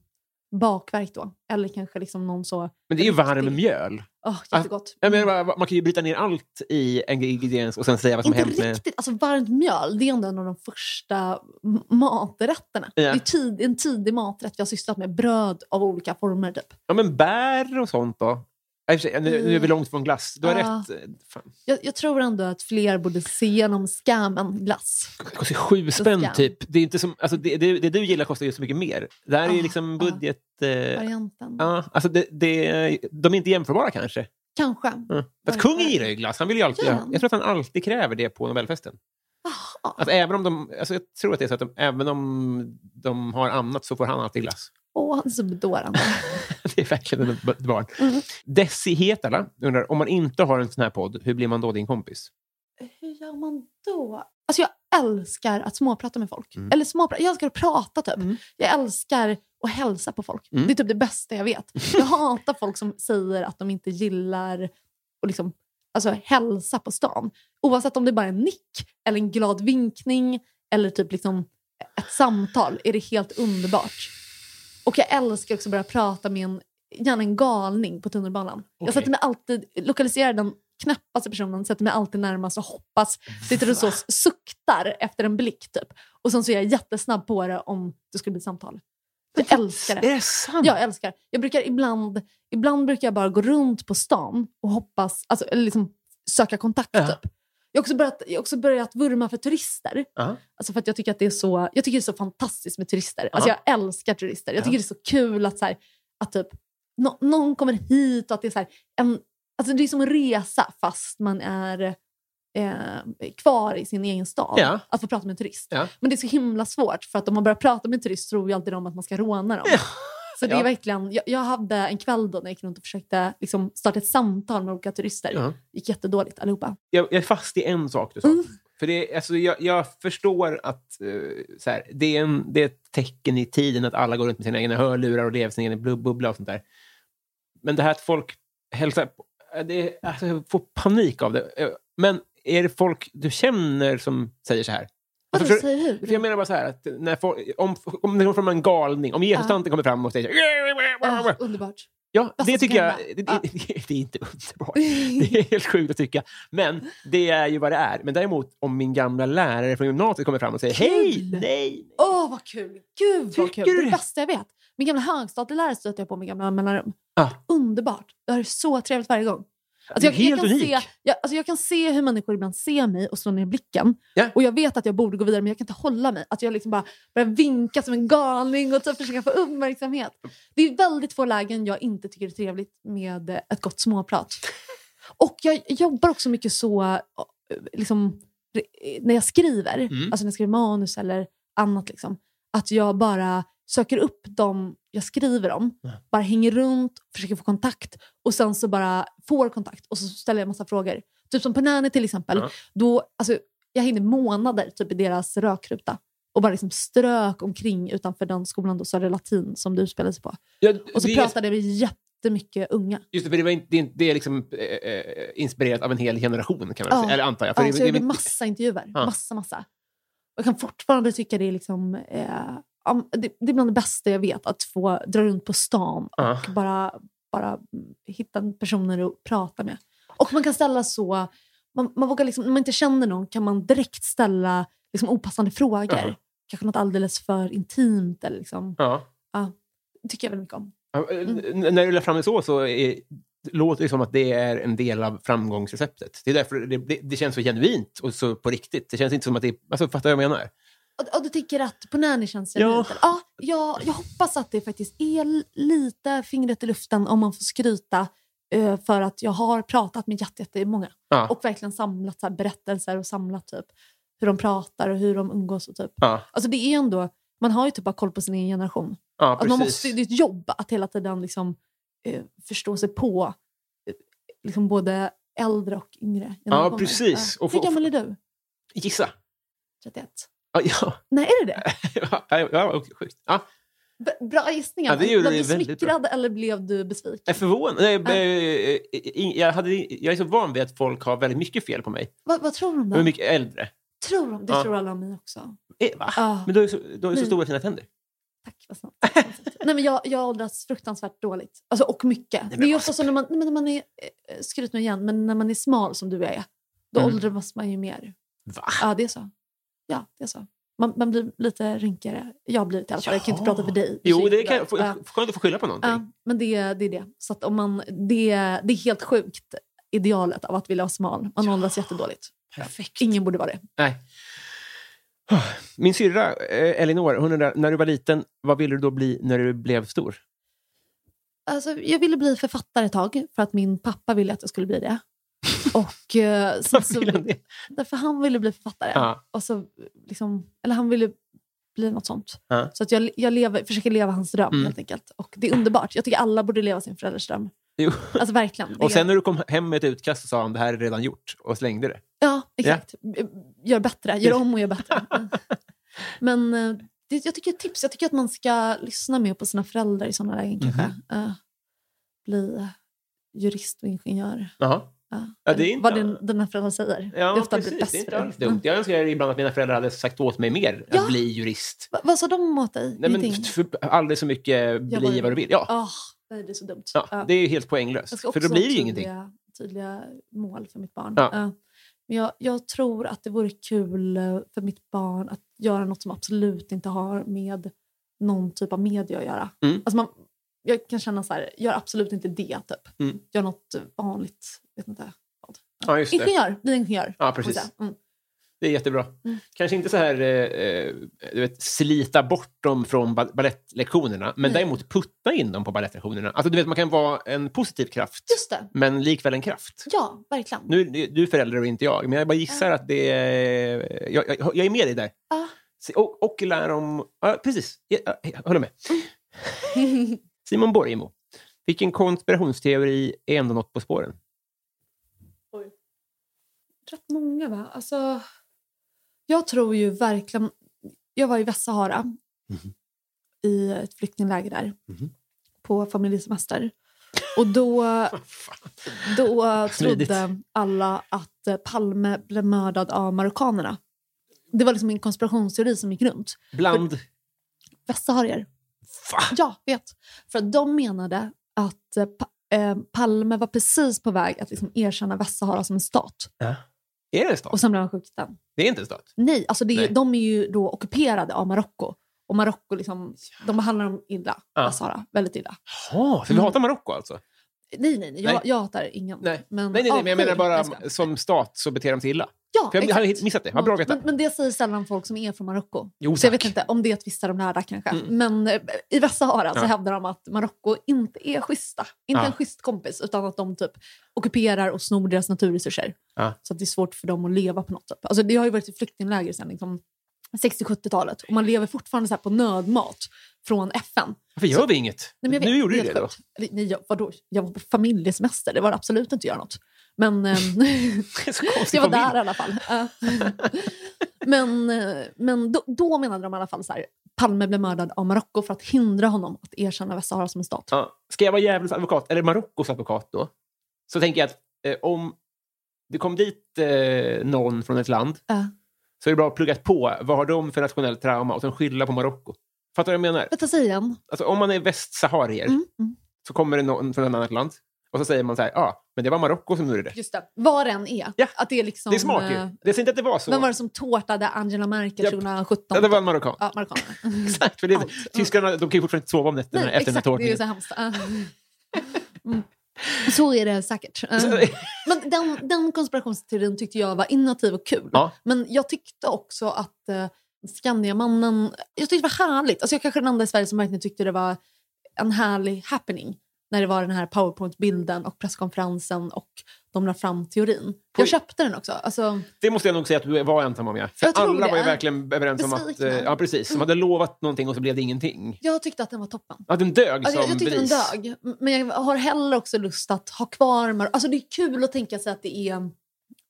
bakverk då. Eller kanske liksom någon så... Men det är ju varm Riktigt. mjöl. Åh, Ah, jättegott. Jag menar, bara- man kan ju bryta ner allt i en ingrediens och sen säga vad som har Inte hänt med... riktigt. Alltså varmt mjöl, det är ändå en av de första m- maträtterna. Ja. Det är tid, en tidig maträtt vi har sysslat med. Bröd av olika former typ. Ja, men bär och sånt då? Ja, i och för sig, Nu, nu är vi långt från glass. Du har Mm. Ja. rätt. Eh, Fan. Jag, jag tror ändå att fler borde se igenom skammen glass. Det kostar ju sju spänn Skam. typ. Det, är inte som, alltså, det, det, det du gillar kostar ju så mycket mer. Det här är ju Ah, liksom ah. budget... Eh, Varianten. ja, alltså, det, det, de är inte jämförbara kanske. Kanske. Mm. För att Verkligen. kungen gillar ju glass. Han vill ju alltid, Ja. Jag tror att han alltid kräver det på Nobelfesten. Ah, Alltså, även om de, alltså, jag tror att det är så att de, även om de har annat så får han alltid glass. Åh, han är så bedårande. det är verkligen en b- barn. Mm. Desi Hetala undrar, om man inte har en sån här podd, hur blir man då din kompis? Hur gör man då? Alltså jag älskar att småprata med folk. Mm. Eller småprata. Jag älskar att prata typ. Mm. Jag älskar att hälsa på folk. Mm. Det är typ det bästa jag vet. Jag hatar folk som säger att de inte gillar att liksom, alltså, hälsa på stan. Oavsett om det bara är en nick, eller en glad vinkning eller typ liksom ett samtal är det helt underbart. Och jag älskar också att börja prata med en, gärna en galning på tunnelbanan. Okej. Jag sätter mig alltid, lokaliserar den knäppaste personen, sätter mig alltid närmast och hoppas. Sitter och så suktar efter en blick typ. Och sen så är jag jättesnabb på det om det skulle bli ett samtal. Jag älskar det. Är det sant? Ja, jag älskar. Jag brukar ibland, ibland brukar jag bara gå runt på stan och hoppas, alltså, eller liksom söka kontakt. Ja. Typ. Jag har också börjat, jag har också börjat vurma för turister. Ja. Alltså för att jag tycker att det är så, jag tycker det är så fantastiskt med turister. Alltså Ja. jag älskar turister. Jag tycker Ja. det är så kul att så här, Att typ nå- någon kommer hit och att det är så här en, alltså det är som en resa fast man är eh, kvar i sin egen stad. Ja. Att få prata med en turist. Ja. Men det är så himla svårt för att om man börjar prata med en turist tror ju alltid de att man ska råna dem. Ja. Så det Ja. är verkligen, jag, jag hade en kväll då när jag gick runt och försökte liksom, starta ett samtal med olika turister. Ja. Det gick jättedåligt allihopa. jag, jag är fast i en sak du sa. Mm. För det, är- alltså, jag, jag förstår att eh, så här, det, är en, det är ett tecken i tiden att alla går runt med sina egna hörlurar och lever sin egen blub- bubbla och sånt där. Men det här att folk hälsar på, eh, det, är- alltså, jag får panik av det. Eh, Men är det folk du känner som säger så här? Alltså, Vadå, förstår- säg hur? För jag menar bara så här, att när folk, om, om det kommer fram en galning, om Jesus-tanten kommer fram och säger Ah, så- underbart. Ja, Vad det ska tycker jag. skrämma? Det, Ja. det, det är inte underbart. Det är helt sjukt att tycka. Men det är ju vad det är. Men däremot om min gamla lärare från gymnasiet kommer fram och säger hej, Kul! nej. Åh, vad kul! Gud, vad Tycker kul. Det du är det det? bästa jag vet. Min gamla högstadielärare stötte jag på med gamla mellanrum. Ah. Underbart. Det här är så trevligt varje gång. Du är helt kan unik. se, jag, alltså jag kan se hur människor ibland ser mig och slår ner blicken. Ja. Och jag vet att jag borde gå vidare men jag kan inte hålla mig. Att jag liksom bara börjar vinka som en galning och typ försöka få uppmärksamhet. Det är väldigt få lägen jag inte tycker är trevligt med eh, ett gott småprat. Och jag jobbar också mycket så, eh, liksom, re- när jag skriver, Mm. alltså när jag skriver manus eller annat, liksom, att jag bara söker upp dem jag skriver om, Ja. bara hänger runt, försöker få kontakt och sen så bara får kontakt och så ställer jag massa frågor. Typ som på Nanny till exempel, Ja. då, alltså, jag hängde månader typ, i deras rökruta och bara liksom strök omkring utanför den skolan, då, Södra Latin, som du spelade på. Ja, Och så det, är- pratade vi jättemycket unga. just det, för det, var inte, det, är inte- det är liksom eh, eh, inspirerat av en hel generation, kan man Ja. säga. Eller antar jag. Ja, För så det, jag det, gjorde massa intervjuer. Ja. Massa, massa. Och jag kan fortfarande tycka det är liksom... Eh, om- det, det är bland det bästa jag vet, att få dra runt på stan ja. och bara, bara mm, hitta personer att prata med. Och man kan ställa så... Man, man vågar liksom, när man inte känner någon kan man direkt ställa liksom, opassande frågor. Ja. Kanske något alldeles för intimt. Eller liksom. Ja. Det tycker jag väldigt mycket om. Ja, eh, n- När du lade fram det så, så är, låter det som att det är en del av framgångsreceptet. Det är därför det, det, det känns så genuint och så på riktigt. Det känns inte som att det är... Alltså, fattar du vad jag menar? Och, och du tycker att på Nanny känns det Ja. ja. ja, jag, jag hoppas att det faktiskt är l- lite fingret i luften om man får skryta eh, för att jag har pratat med jätte- jättemånga Ja. och verkligen samlat så här, berättelser och samlat typ, hur de pratar och hur de umgås. Och, typ. Ja, Alltså, det är ändå, man har ju typ bara koll på sin egen generation. ja Att precis. man måste, det är ett jobb att hela tiden liksom, eh, förstå sig på eh, liksom både äldre och yngre generationer. precis. Ja. Och få- Hur gammal är du? Gissa. 31? Ja, ja. Nej, är det det? ja, ja, okej, sjukt. Ja, B- Bra gissningar. Ja, det gjorde blev du du väldigt smickrad eller blev du besviken? Jag är förvånad. Nej, eh, eh, eh, jag, hade, jag är så van vid att folk har väldigt mycket fel på mig. Vad, vad tror du om De är det? mycket äldre. Tror de? Det Ja. tror alla om mig också. Eh, va? Ja, Men de är så, de är så Nej. stora fina tänder. tack, vad snabbt. nej, men jag, jag åldras fruktansvärt dåligt. Alltså, och mycket. men alltså det är ju vad- ofta så när man, nej, men när man är, eh, skryt nu igen, men när man är smal som du och jag är, då Mm. åldras man ju mer. Va? Ja, det är så. Ja, det är så. Man, man blir lite rynkigare. Jag har blivit i alla fall. Jag kan inte Jaha. prata för dig. Jo, det kan, får, Ja. får jag inte få skylla på någonting. Ja, men det, det är det. Så att om man, det, det är helt sjukt, idealet av att vilja vara smal. Man åldras jättedåligt. Perfekt. Ingen borde vara det. Nej. Ah, Min syrra eh, Elinor, hon undrar, när du var liten, vad ville du då bli när du blev stor? Alltså, jag ville bli författare ett tag för att min pappa ville att jag skulle bli det. Och eh, sen så, Vill han det? därför han ville bli författare. Ja. Och så, liksom, eller han ville bli något sånt. Ja. Så att jag, jag lever, försöker leva hans dröm Mm. helt enkelt. Och det är underbart. Jag tycker alla borde leva sin förälders dröm. Jo. Alltså verkligen. Det Och är- sen när du kom hem med ett utkast så sa han, det här är redan gjort, och slängde det. Ja, exakt. Gör bättre. Gör om och gör bättre. Men eh, det, jag tycker ett tips. Jag tycker att man ska lyssna mer på sina föräldrar i sådana lägen kanske. Mhm. Eh, bli jurist och ingenjör. Jaha. Ja. Ja, det är Eller inte- Vad din, dina föräldrar säger. Ja, är ofta precis. bäst Det är inte för alls dig. dumt. Jag önskar ibland att mina föräldrar hade sagt åt mig mer, Ja. att bli jurist. Va, vad sa de åt dig? Nej, men Ingenting? för, aldrig så mycket bli var- vad du vill. Ja, Ah, nej, det är så dumt. ja, Ja. det är ju helt Jag poänglöst. ska För också då blir det ha ju ingenting. Tydliga, tydliga mål för mitt barn. Ja. Ja. Men jag, jag tror att det vore kul eh, för mitt barn att göra något som absolut inte har med någon typ av media att göra. Mm. Alltså man, jag kan känna så här, gör absolut inte det. Typ. Mm. Gör något vanligt. Vet inte. Ja, just det. Ingenjör, bli ingenjör. Ja, får jag precis. säga. Mm. Det är jättebra. Kanske inte så här eh, eh, du vet, slita bort dem från ba- ballettlektionerna, men däremot putta in dem på ballettlektionerna. Alltså, du vet, man kan vara en positiv kraft, Just det. men likväl en kraft. Ja, verkligen. Nu är det- du är förälder och inte jag, men jag bara gissar att det är... Jag, jag, jag är med dig där. Ja. Se- Och, och lär om... Ja, precis. Jag, jag, jag håller med. Mm. Simon Borgemo. Vilken konspirationsteori är ändå något på spåren? rätt många va? Alltså, jag tror ju verkligen... Jag var i Västsahara i ett flyktingläger där på familjesemester. Och då, då Smidigt. trodde alla att eh, Palme blev mördad av marockanerna. Det var liksom en konspirationsteori som gick runt. Bland... Västsaharier. Va? Ja, vet. För att de menade att eh, pa- eh, Palme var precis på väg att liksom erkänna Västsahara som en stat. Är det en stat? Och sen blev han skjuten. Det är inte en stat. Nej, alltså det är ju, Nej. de är ju då ockuperade av Marocko. Och Marocko liksom, de behandlar dem illa, Ja. Västsahara. Väldigt illa. Jaha, så vi Mm. hatar Marocko alltså? Nej, nej, nej. Jag, Nej. jag hatar ingen. Nej. men, Nej, nej, nej, men jag menar avsky. Jag skojar. bara som stat så beter de sig illa. Ja, För jag exakt. Ah. Mm. hade missat det. Vad bra att veta. men, men det säger sällan folk som är från Marocko. Jo, Så jag tack. vet inte om det är ett visst de lärda kanske. Mm. Men eh, i Västsahara så Ja. hävdar de att Marocko inte är schyssta. Inte Ja. en schysst kompis utan att de typ ockuperar och snor deras naturresurser. Ja. Så att det är svårt för dem att leva på något sätt. Alltså, det har ju varit ett flyktingläger sedan liksom 60-70-talet och man lever fortfarande så här på nödmat från FN. Varför gör vi inget? Nej, men jag vet, nu gjorde du helt det då. sjukt. Eller, Nej, jag, vadå? jag var på familjesemester, det var absolut inte att göra något. Men, ehm, Det är så konstigt jag var Typ familj. där i alla fall. Ja. men eh, men då, då menade de i alla fall så här, Palme blev mördad av Marocko för att hindra honom att erkänna Västsahara som en stat. Ja. Ska jag vara djävulens advokat, eller Marockos advokat då? Så tänker jag att eh, om det kom dit eh, någon från ett land Ja. så är det bra att plugga på vad har de för nationellt trauma och sen skylla på Marocko. Fattar du vad jag menar? Vänta, säg igen. Alltså, om man är västsaharier Mm, mm. så kommer det någon från ett annat land och så säger man så här, ja, ah, men det var Marocko som gjorde det. Just det, vad den är. Ja, Att det, är liksom, det är smart eh, ju. Det säger inte att det var så. Vem var det som tårtade Angela Merkel Japp. 2017? Ja, det var en marockan. Ja, marockanerna. Exakt, för det, Allt. tyskarna de kan ju fortfarande inte sova om nätterna Nej, efter den här exakt. Det är ju tårtningen. så hemskt. Ja. Mm. Så är det säkert. Ja. Men den, den konspirationsteorin tyckte jag var innovativ och kul. Ja. Men jag tyckte också att eh, Skandiamannen... Jag tyckte det var härligt. Alltså jag kanske är den enda i Sverige som verkligen tyckte det var en härlig happening när det var den här powerpoint-bilden och presskonferensen och de la fram teorin. På- Jag köpte den också. Alltså, Det måste jag nog säga att du var ensam om. Ja. För Jag tror alla det. var ju verkligen överens om att... Besvikna. eh, Ja, precis. Som hade lovat någonting och så blev det ingenting. jag tyckte att den var toppen. Ja, den dög Alltså, som jag, jag tyckte den Liksom bevis. dög. M- Men jag har heller också lust att ha kvar... Mar- Alltså, det är kul att tänka sig att det är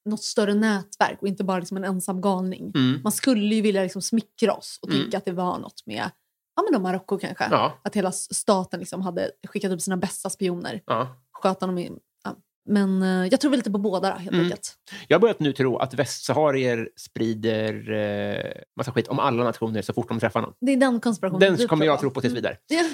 något större nätverk och inte bara liksom en ensam galning. Mm. Man skulle ju vilja liksom smickra oss och Mm. tänka att det var något med ja, men då Marocko kanske. Ja, Att hela s- staten liksom hade skickat upp sina bästa spioner. ja. Sköt honom i... Ja. Men eh, jag tror väl lite på båda då, helt Mm. enkelt. Jag har börjat nu tro att västsaharier sprider eh, massa skit om alla nationer så fort de träffar någon. Det är den konspirationen Den vi kommer jag på. tro på tills vidare. Mm.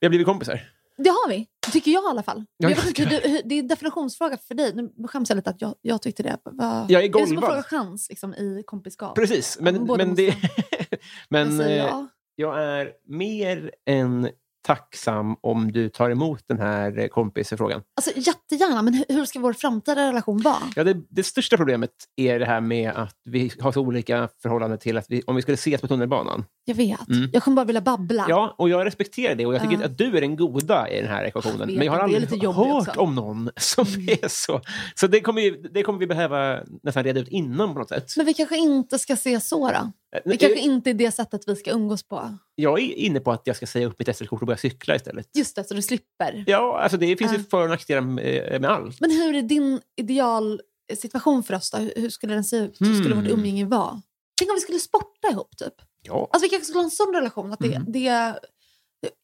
Vi har blivit kompisar. Det har vi, tycker jag i alla fall. Ja, jag vet ja, inte, hur du, hur, det är en definitionsfråga för dig. Nu skäms jag lite att jag, jag tyckte det. Var, Jag är det som att golvad. fråga chans liksom, i kompiskap. Precis, Ja, men, båda men, det, måste. men alltså, eh, ja. jag är mer än tacksam om du tar emot den här eh, kompisfrågan. alltså, jättegärna, men hur, hur ska vår framtida relation vara? Ja, det, det största problemet är det här med att vi har så olika förhållanden till att vi, om vi skulle ses på tunnelbanan. Jag vet. Mm. Jag kommer bara vilja babbla. Ja, och jag respekterar det och jag tycker Ja. att du är den goda i den här ekvationen. Jag vet, Men jag har men det är aldrig lite jobbigt hört också. Mm. om någon som är så. Så det kommer, ju, det kommer vi behöva nästan reda ut innan på något sätt. Men vi kanske inte ska se så då. Det Eh, kanske inte är det sättet vi ska umgås på. Jag är inne på att jag ska säga upp mitt SL-kort och börja cykla istället. Just det, så du slipper. Ja, alltså det finns ju Ja. för och nackdelar med, med allt. Men hur är din idealsituation för oss då? Hur, hur skulle den se ut? Hur skulle Hmm. vårt umgänge vara? Tänk om vi skulle sporta ihop typ. Ja. Alltså vi kanske skulle ha en sån relation. Att det, Mm. det,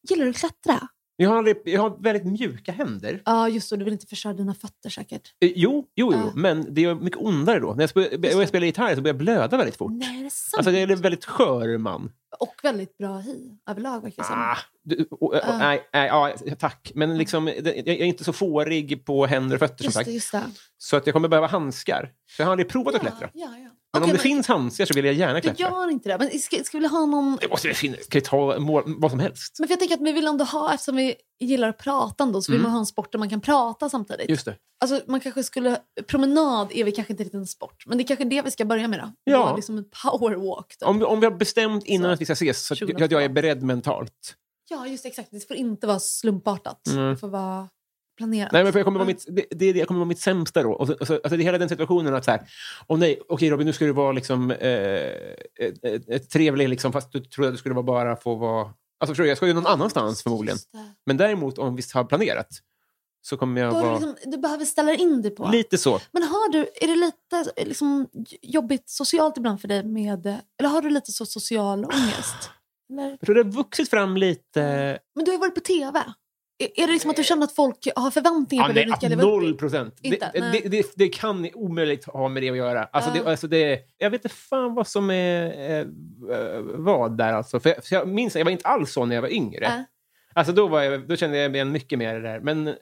gillar du att klättra? Jag, har aldrig, jag har väldigt mjuka händer. Ja, just så. Du vill inte förstöra dina fötter säkert. Eh, Jo, jo, jo Ja. men det gör mycket ondare då. När jag, spe, jag spelar gitarr så börjar jag blöda väldigt fort. Nej, är det sant? Alltså, det är en väldigt skör man. Och väldigt bra hy överlag verkar det som. Ah, du, och, och, Liksom. Ah. nej, nej, ja, tack. Men liksom, det- jag är inte så fårig på händer och fötter, som just sagt. det, just det. Så att jag kommer behöva handskar. För jag har aldrig provat att klättra. Ja, ja, ja. Men Men om Okej, det men- finns handskar så vill jag gärna Du klättra. gör inte det. Men ska, ska vi ha någon... Det måste väl finnas. Kan ju ta mål, vad som helst. Men för jag tänker att vi vill ändå ha, eftersom vi gillar att prata ändå, så vill Mm. man ha en sport där man kan prata samtidigt. Just det. Alltså, man kanske skulle, promenad är vi kanske inte riktigt en sport, men det är kanske det vi ska börja med då. Ja. Gå Liksom en powerwalk. Då. Om, vi- om vi har bestämt innan Så. att vi ska ses så att, att jag är beredd mentalt. Ja, just det, exakt. Det får inte vara slumpartat. Mm. Det får vara planerat. Nej, men för jag kommer vara mitt, det, det är det jag kommer vara mitt sämsta då. Och så, och så, alltså det är hela den situationen att så här, åh nej, okej Robin, nu ska du vara liksom, eh, ett- ett- ett trevlig, liksom, fast du trodde att du skulle vara bara få vara... Alltså, förstår du, jag ska ju någon annanstans förmodligen. Just det. Men däremot om vi har planerat så kommer jag Då har du, vara... liksom, du behöver ställa in dig på. Lite så. Men har du, är det lite liksom, jobbigt socialt ibland för dig med, eller har du lite så social ångest? Eller? Jag tror det har vuxit fram lite... Men du har ju varit på tv. Är, är det liksom att du känner att folk har Eh. Ja, förväntningar på nej, dig? Mikael? Det var- noll procent. Det, Inte, det, nej. det, det kan omöjligt ha med det att göra. Alltså, Ah. det, alltså det, jag vet inte fan vad som är eh, eh, vad där. Alltså. För jag, för jag minns jag var inte alls så när jag var yngre. Nej. Alltså, då, var jag, då kände jag igen mycket mer i det där. Men ah,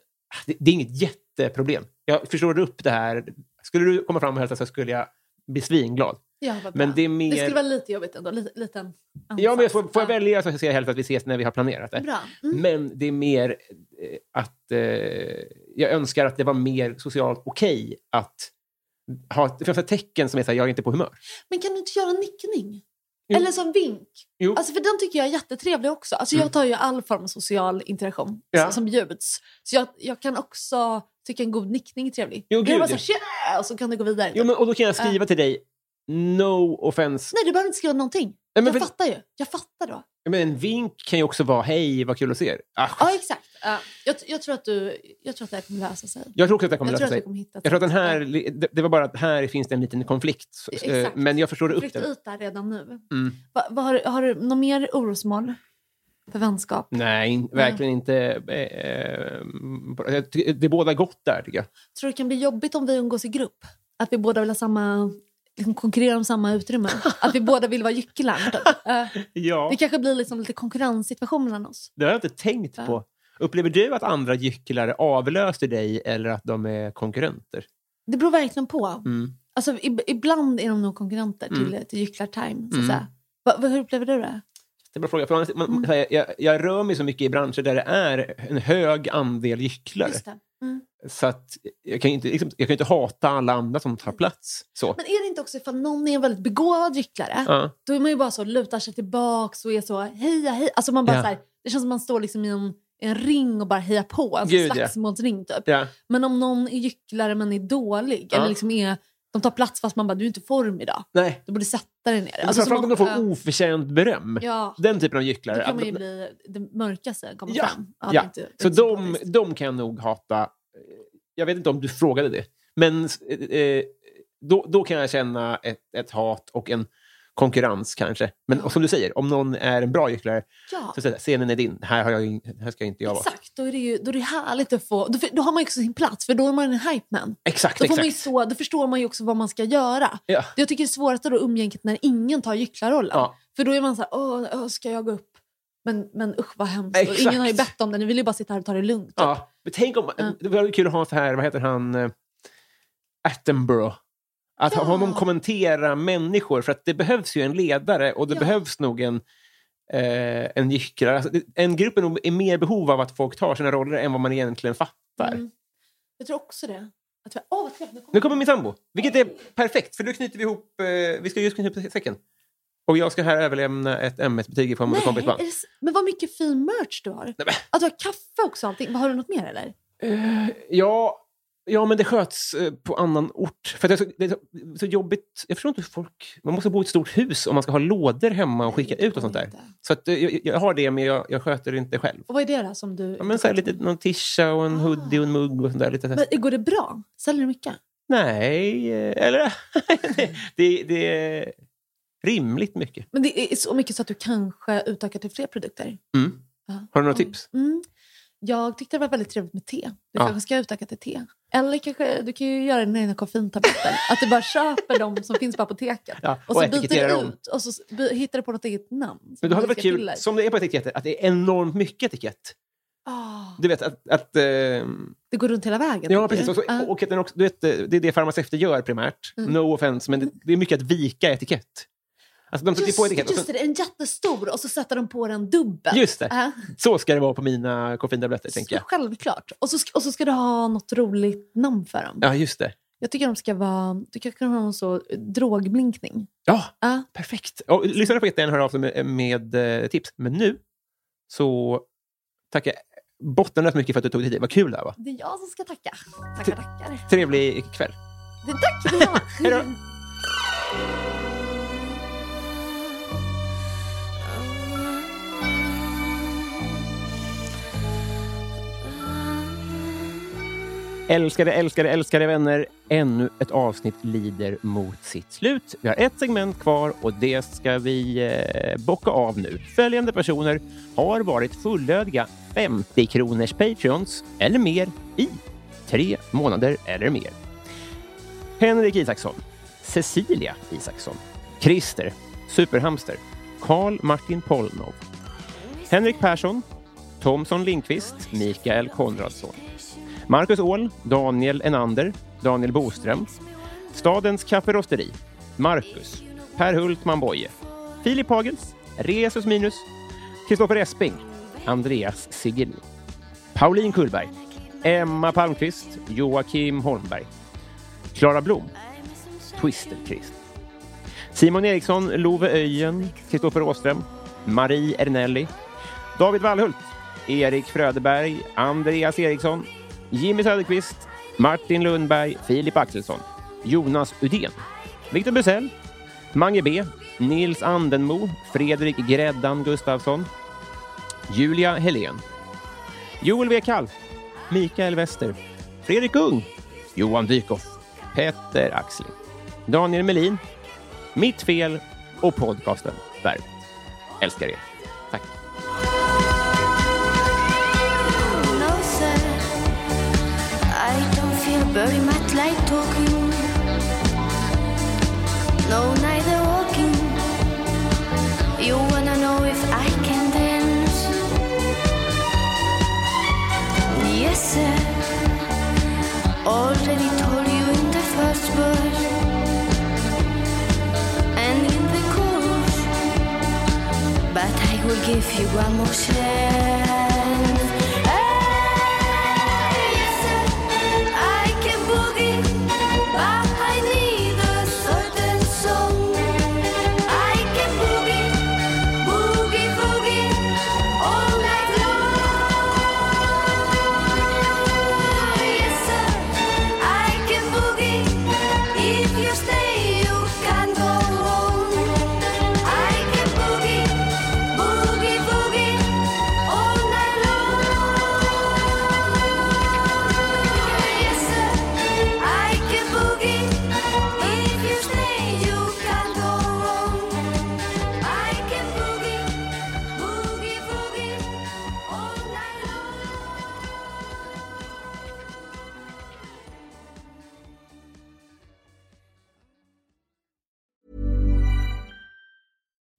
det, det är inget jätteproblem. Jag förstår upp det här. Skulle du komma fram och hälsa så skulle jag bli svinglad. Ja, vad bra. Men det är mer... Det skulle vara lite jobbigt ändå. Lite, liten ja, men jag får, får jag Ja. välja så ser jag helst att vi ses när vi har planerat det. Bra. Mm. Men det är mer eh, att eh, jag önskar att det var mer socialt okej att ha det finns ett tecken som är att jag är inte på humör. Men kan du inte göra en nickning? Jo. Eller som vink? Jo. Alltså, för den tycker jag är jättetrevlig också. Alltså, Mm. Jag tar ju all form av social interaktion Ja. som- som bjuds. Så jag, jag kan också tycka en god nickning är trevlig. Jo, jag gud, bara ja. så, här, "Tja!" och så kan du gå vidare. Jo, men, och då kan jag äh. skriva till dig, no offense. Nej, du behöver inte skriva någonting. Nej, men, jag för, fattar ju. Jag fattar då. men en vink kan ju också vara, hej, vad kul att se er. Ah, Ja, exakt. Ja. jag, jag, tror att du, jag tror att det här kommer lösa sig. jag tror också att det kommer Jag lösa tror att vi sig. kommer hitta ett Jag tror att den sätt. här, li- det, det var bara att här finns det en liten konflikt. Så- Exakt. eh, Men jag förstår upp Tryckt det. ut där redan nu. Mm. Va, vad har, har du något mer orosmoln för vänskap? Nej, in- verkligen inte. eh, eh, jag ty- det är båda gott där, tycker jag. Tror du det kan bli jobbigt om vi umgås i grupp? Att vi båda vill ha samma, liksom konkurrera om samma utrymme? Att vi båda vill vara gycklan? Eh, Ja. Det kanske blir liksom lite konkurrenssituation mellan oss. Det har jag inte tänkt Ja. på. Upplever du att andra gycklare avlöser dig eller att de är konkurrenter? Det beror verkligen på. Mm. Alltså, ib- ibland är de nog konkurrenter till, till gycklar-time. Så att Mm. säga. Va, va, hur upplever du det? Det är en bra fråga. För annars- Mm. man, så här, jag, jag rör mig så mycket i branscher där det är en hög andel gycklare. Just det. Mm. Så att jag kan ju inte, liksom, jag kan ju inte hata alla andra som tar plats. Så. Mm. Men är det inte också ifall någon är en väldigt begåvad gycklare, Ja. då är man ju bara så, lutar sig tillbaks och är så heja hej. Alltså man bara Ja. så här, det känns som man står liksom i en, en ring och bara hejar på. Alltså Gud, ja. slagsmålsring typ. Ja. Men om någon är gycklare men är dålig Ja. eller liksom är, de tar plats fast man bara du är inte i form idag. Nej. Du borde sätta dig ner. Alltså, som Framförallt om de att- får oförtjänt beröm. Ja, Den typen av då gycklare. kan man ju Att- bli det mörkaste komma Ja. fram. det är Ja. inte- det är Alltså, Så inte de, sympatiskt. de kan jag nog hata. Jag vet inte om du frågade det. Men eh, eh, då, då kan jag känna ett, ett hat och en konkurrens kanske. Men och som du säger, om någon är en bra gycklare Ja, så säger jag, scenen är din. Här, har jag, in- här ska inte jag vara. exakt. Då är det ju då är det härligt att få... Då, då har man ju också sin plats för då är man en hype man. Exakt, Då, får man ju exakt. så, då förstår man ju också vad man ska göra. Ja. Jag tycker det är svårare då umgänget när ingen tar gycklarrollen. Ja. För då är man så här, åh, åh, ska jag gå upp? Men, men usch vad hemskt. Och Exakt. Ingen har ju bett om det. Ni vill ju bara sitta här och ta det lugnt. Ja. Typ. Men tänk om, Ja. Det vore kul att ha så här, vad heter han, eh, Attenborough. Att ha Ja. honom kommentera människor, för att det behövs ju en ledare och det Ja. behövs nog en, eh, en gycklare. Alltså, det- en grupp är nog i mer behov av att folk tar sina roller än vad man egentligen fattar. Mm. Jag tror också det. Att vi, åh, vad trevligt. Nu kommer Nu kommer min sambo, vilket är perfekt, för nu knyter vi ihop... Eh, vi ska just knyta ihop säcken. Och jag ska här överlämna ett ämnesbetyg i form av Nej, ett kompisband. är det s- men vad mycket fin merch du har. men- Att du har kaffe också och allting. Vad, Har du något mer eller? Eh, ja, ja, men det sköts eh, på annan ort. För att det, är så, det är så, så jobbigt. Jag förstår inte hur folk... Man måste bo i ett stort hus om man ska ha lådor hemma och skicka ut och sånt där. Så att, eh, jag, jag har det, men jag, jag sköter det inte själv. Och vad är det då som du... Ja, men så här, lite någon tisha och en Ah. hoodie och en mugg och sånt där. Lite, så här. Men går det bra? Säljer du mycket? Nej, eh, eller? det, det är rimligt mycket. Men det är så mycket så att du kanske utökar till fler produkter? Mm. Ja. Har du några Oj. tips? Mm. Jag tyckte det var väldigt trevligt med te. Du Ja. kanske ska utöka till te. Eller kanske, du kan ju göra dina egna koffeintabletter. att du bara köper de som finns på apoteket. Ja, Och så byter etikettera du dem. ut och så by- hittar du på något eget namn. Men det hade varit kul, Piller. som det är på etiketter, att det är enormt mycket etikett. Ah, Du vet att... att ehm, det går runt hela vägen. ja, tänker precis. du? Och, så, Ah. och att den också, du vet, det är det farmaceuter gör primärt. Mm. No offense, men det, det är mycket att vika etikett. Alltså de sätter Just, på etikett. och just sen- det, en jättestor och så sätter de på den dubbel. Just det. Ah. Så ska det vara på mina koffeintabletter, tänker jag. Självklart. Och så, ska, och så ska du ha något roligt namn för dem. Ja, just det. Jag tycker de ska vara... Du kan kunna ha någon så drogblinkning. Ah. Ja, Ja. perfekt. Och lyssnarna på Getaren hör av sig med, med eh, tips. Men nu så tackar jag bottenlöst mycket för att du tog dig tid. Vad kul det här var. Det är jag som ska tacka. Tackar, tackar. Trevlig kväll. Det tack det är jag. Hej då! Älskade, älskade, älskade vänner. Ännu ett avsnitt lider mot sitt slut. Vi har ett segment kvar och det ska vi eh, bocka av nu. Följande personer har varit fullödiga 50 kronors Patreons eller mer i tre månader eller mer. Henrik Isaksson, Cecilia Isaksson, Christer, Superhamster, Karl Martin Polnov, Henrik Persson, Thomson Lindqvist, Mikael Konradsson, Marcus Åhl, Daniel Enander, Daniel Boström, Stadens Kafferosteri, Marcus, Per Hultman Boye, Filip Hagels, Resus Minus, Kristoffer Esping, Andreas Sigelin, Pauline Kullberg, Emma Palmqvist, Joakim Holmberg, Klara Blom, Twister-Chris. Simon Eriksson, Love Öjen, Kristoffer Åström, Marie Ernelli, David Wallhult, Erik Fröderberg, Andreas Eriksson, Jimmy Söderqvist, Martin Lundberg, Filip Axelsson, Jonas Udén, Victor Busell, Mange B, Nils Andenmo, Fredrik Gräddan Gustafsson, Julia Helén, Joel W. Kall, Mikael Wester, Fredrik Ung, Johan Dykhoff, Peter Axling, Daniel Melin, Mitt Fel och podcasten Värvet. Älskar er. Tack. No, sir. I don't feel very much like talking. No, neither walking. You wanna know if I can dance? Yes, sir. Already told you in the first verse. And in the chorus. But I will give you one more chance. Hey, yes, sir, I can boogie, but I need a certain song. I can boogie, boogie, boogie, all night long. Yes, sir, I can boogie. If you stay, you can go wrong. I can boogie, boogie, boogie, all night long. Yes, sir, I can boogie. If you stay, you can go wrong. I can boogie, boogie, boogie, all night long.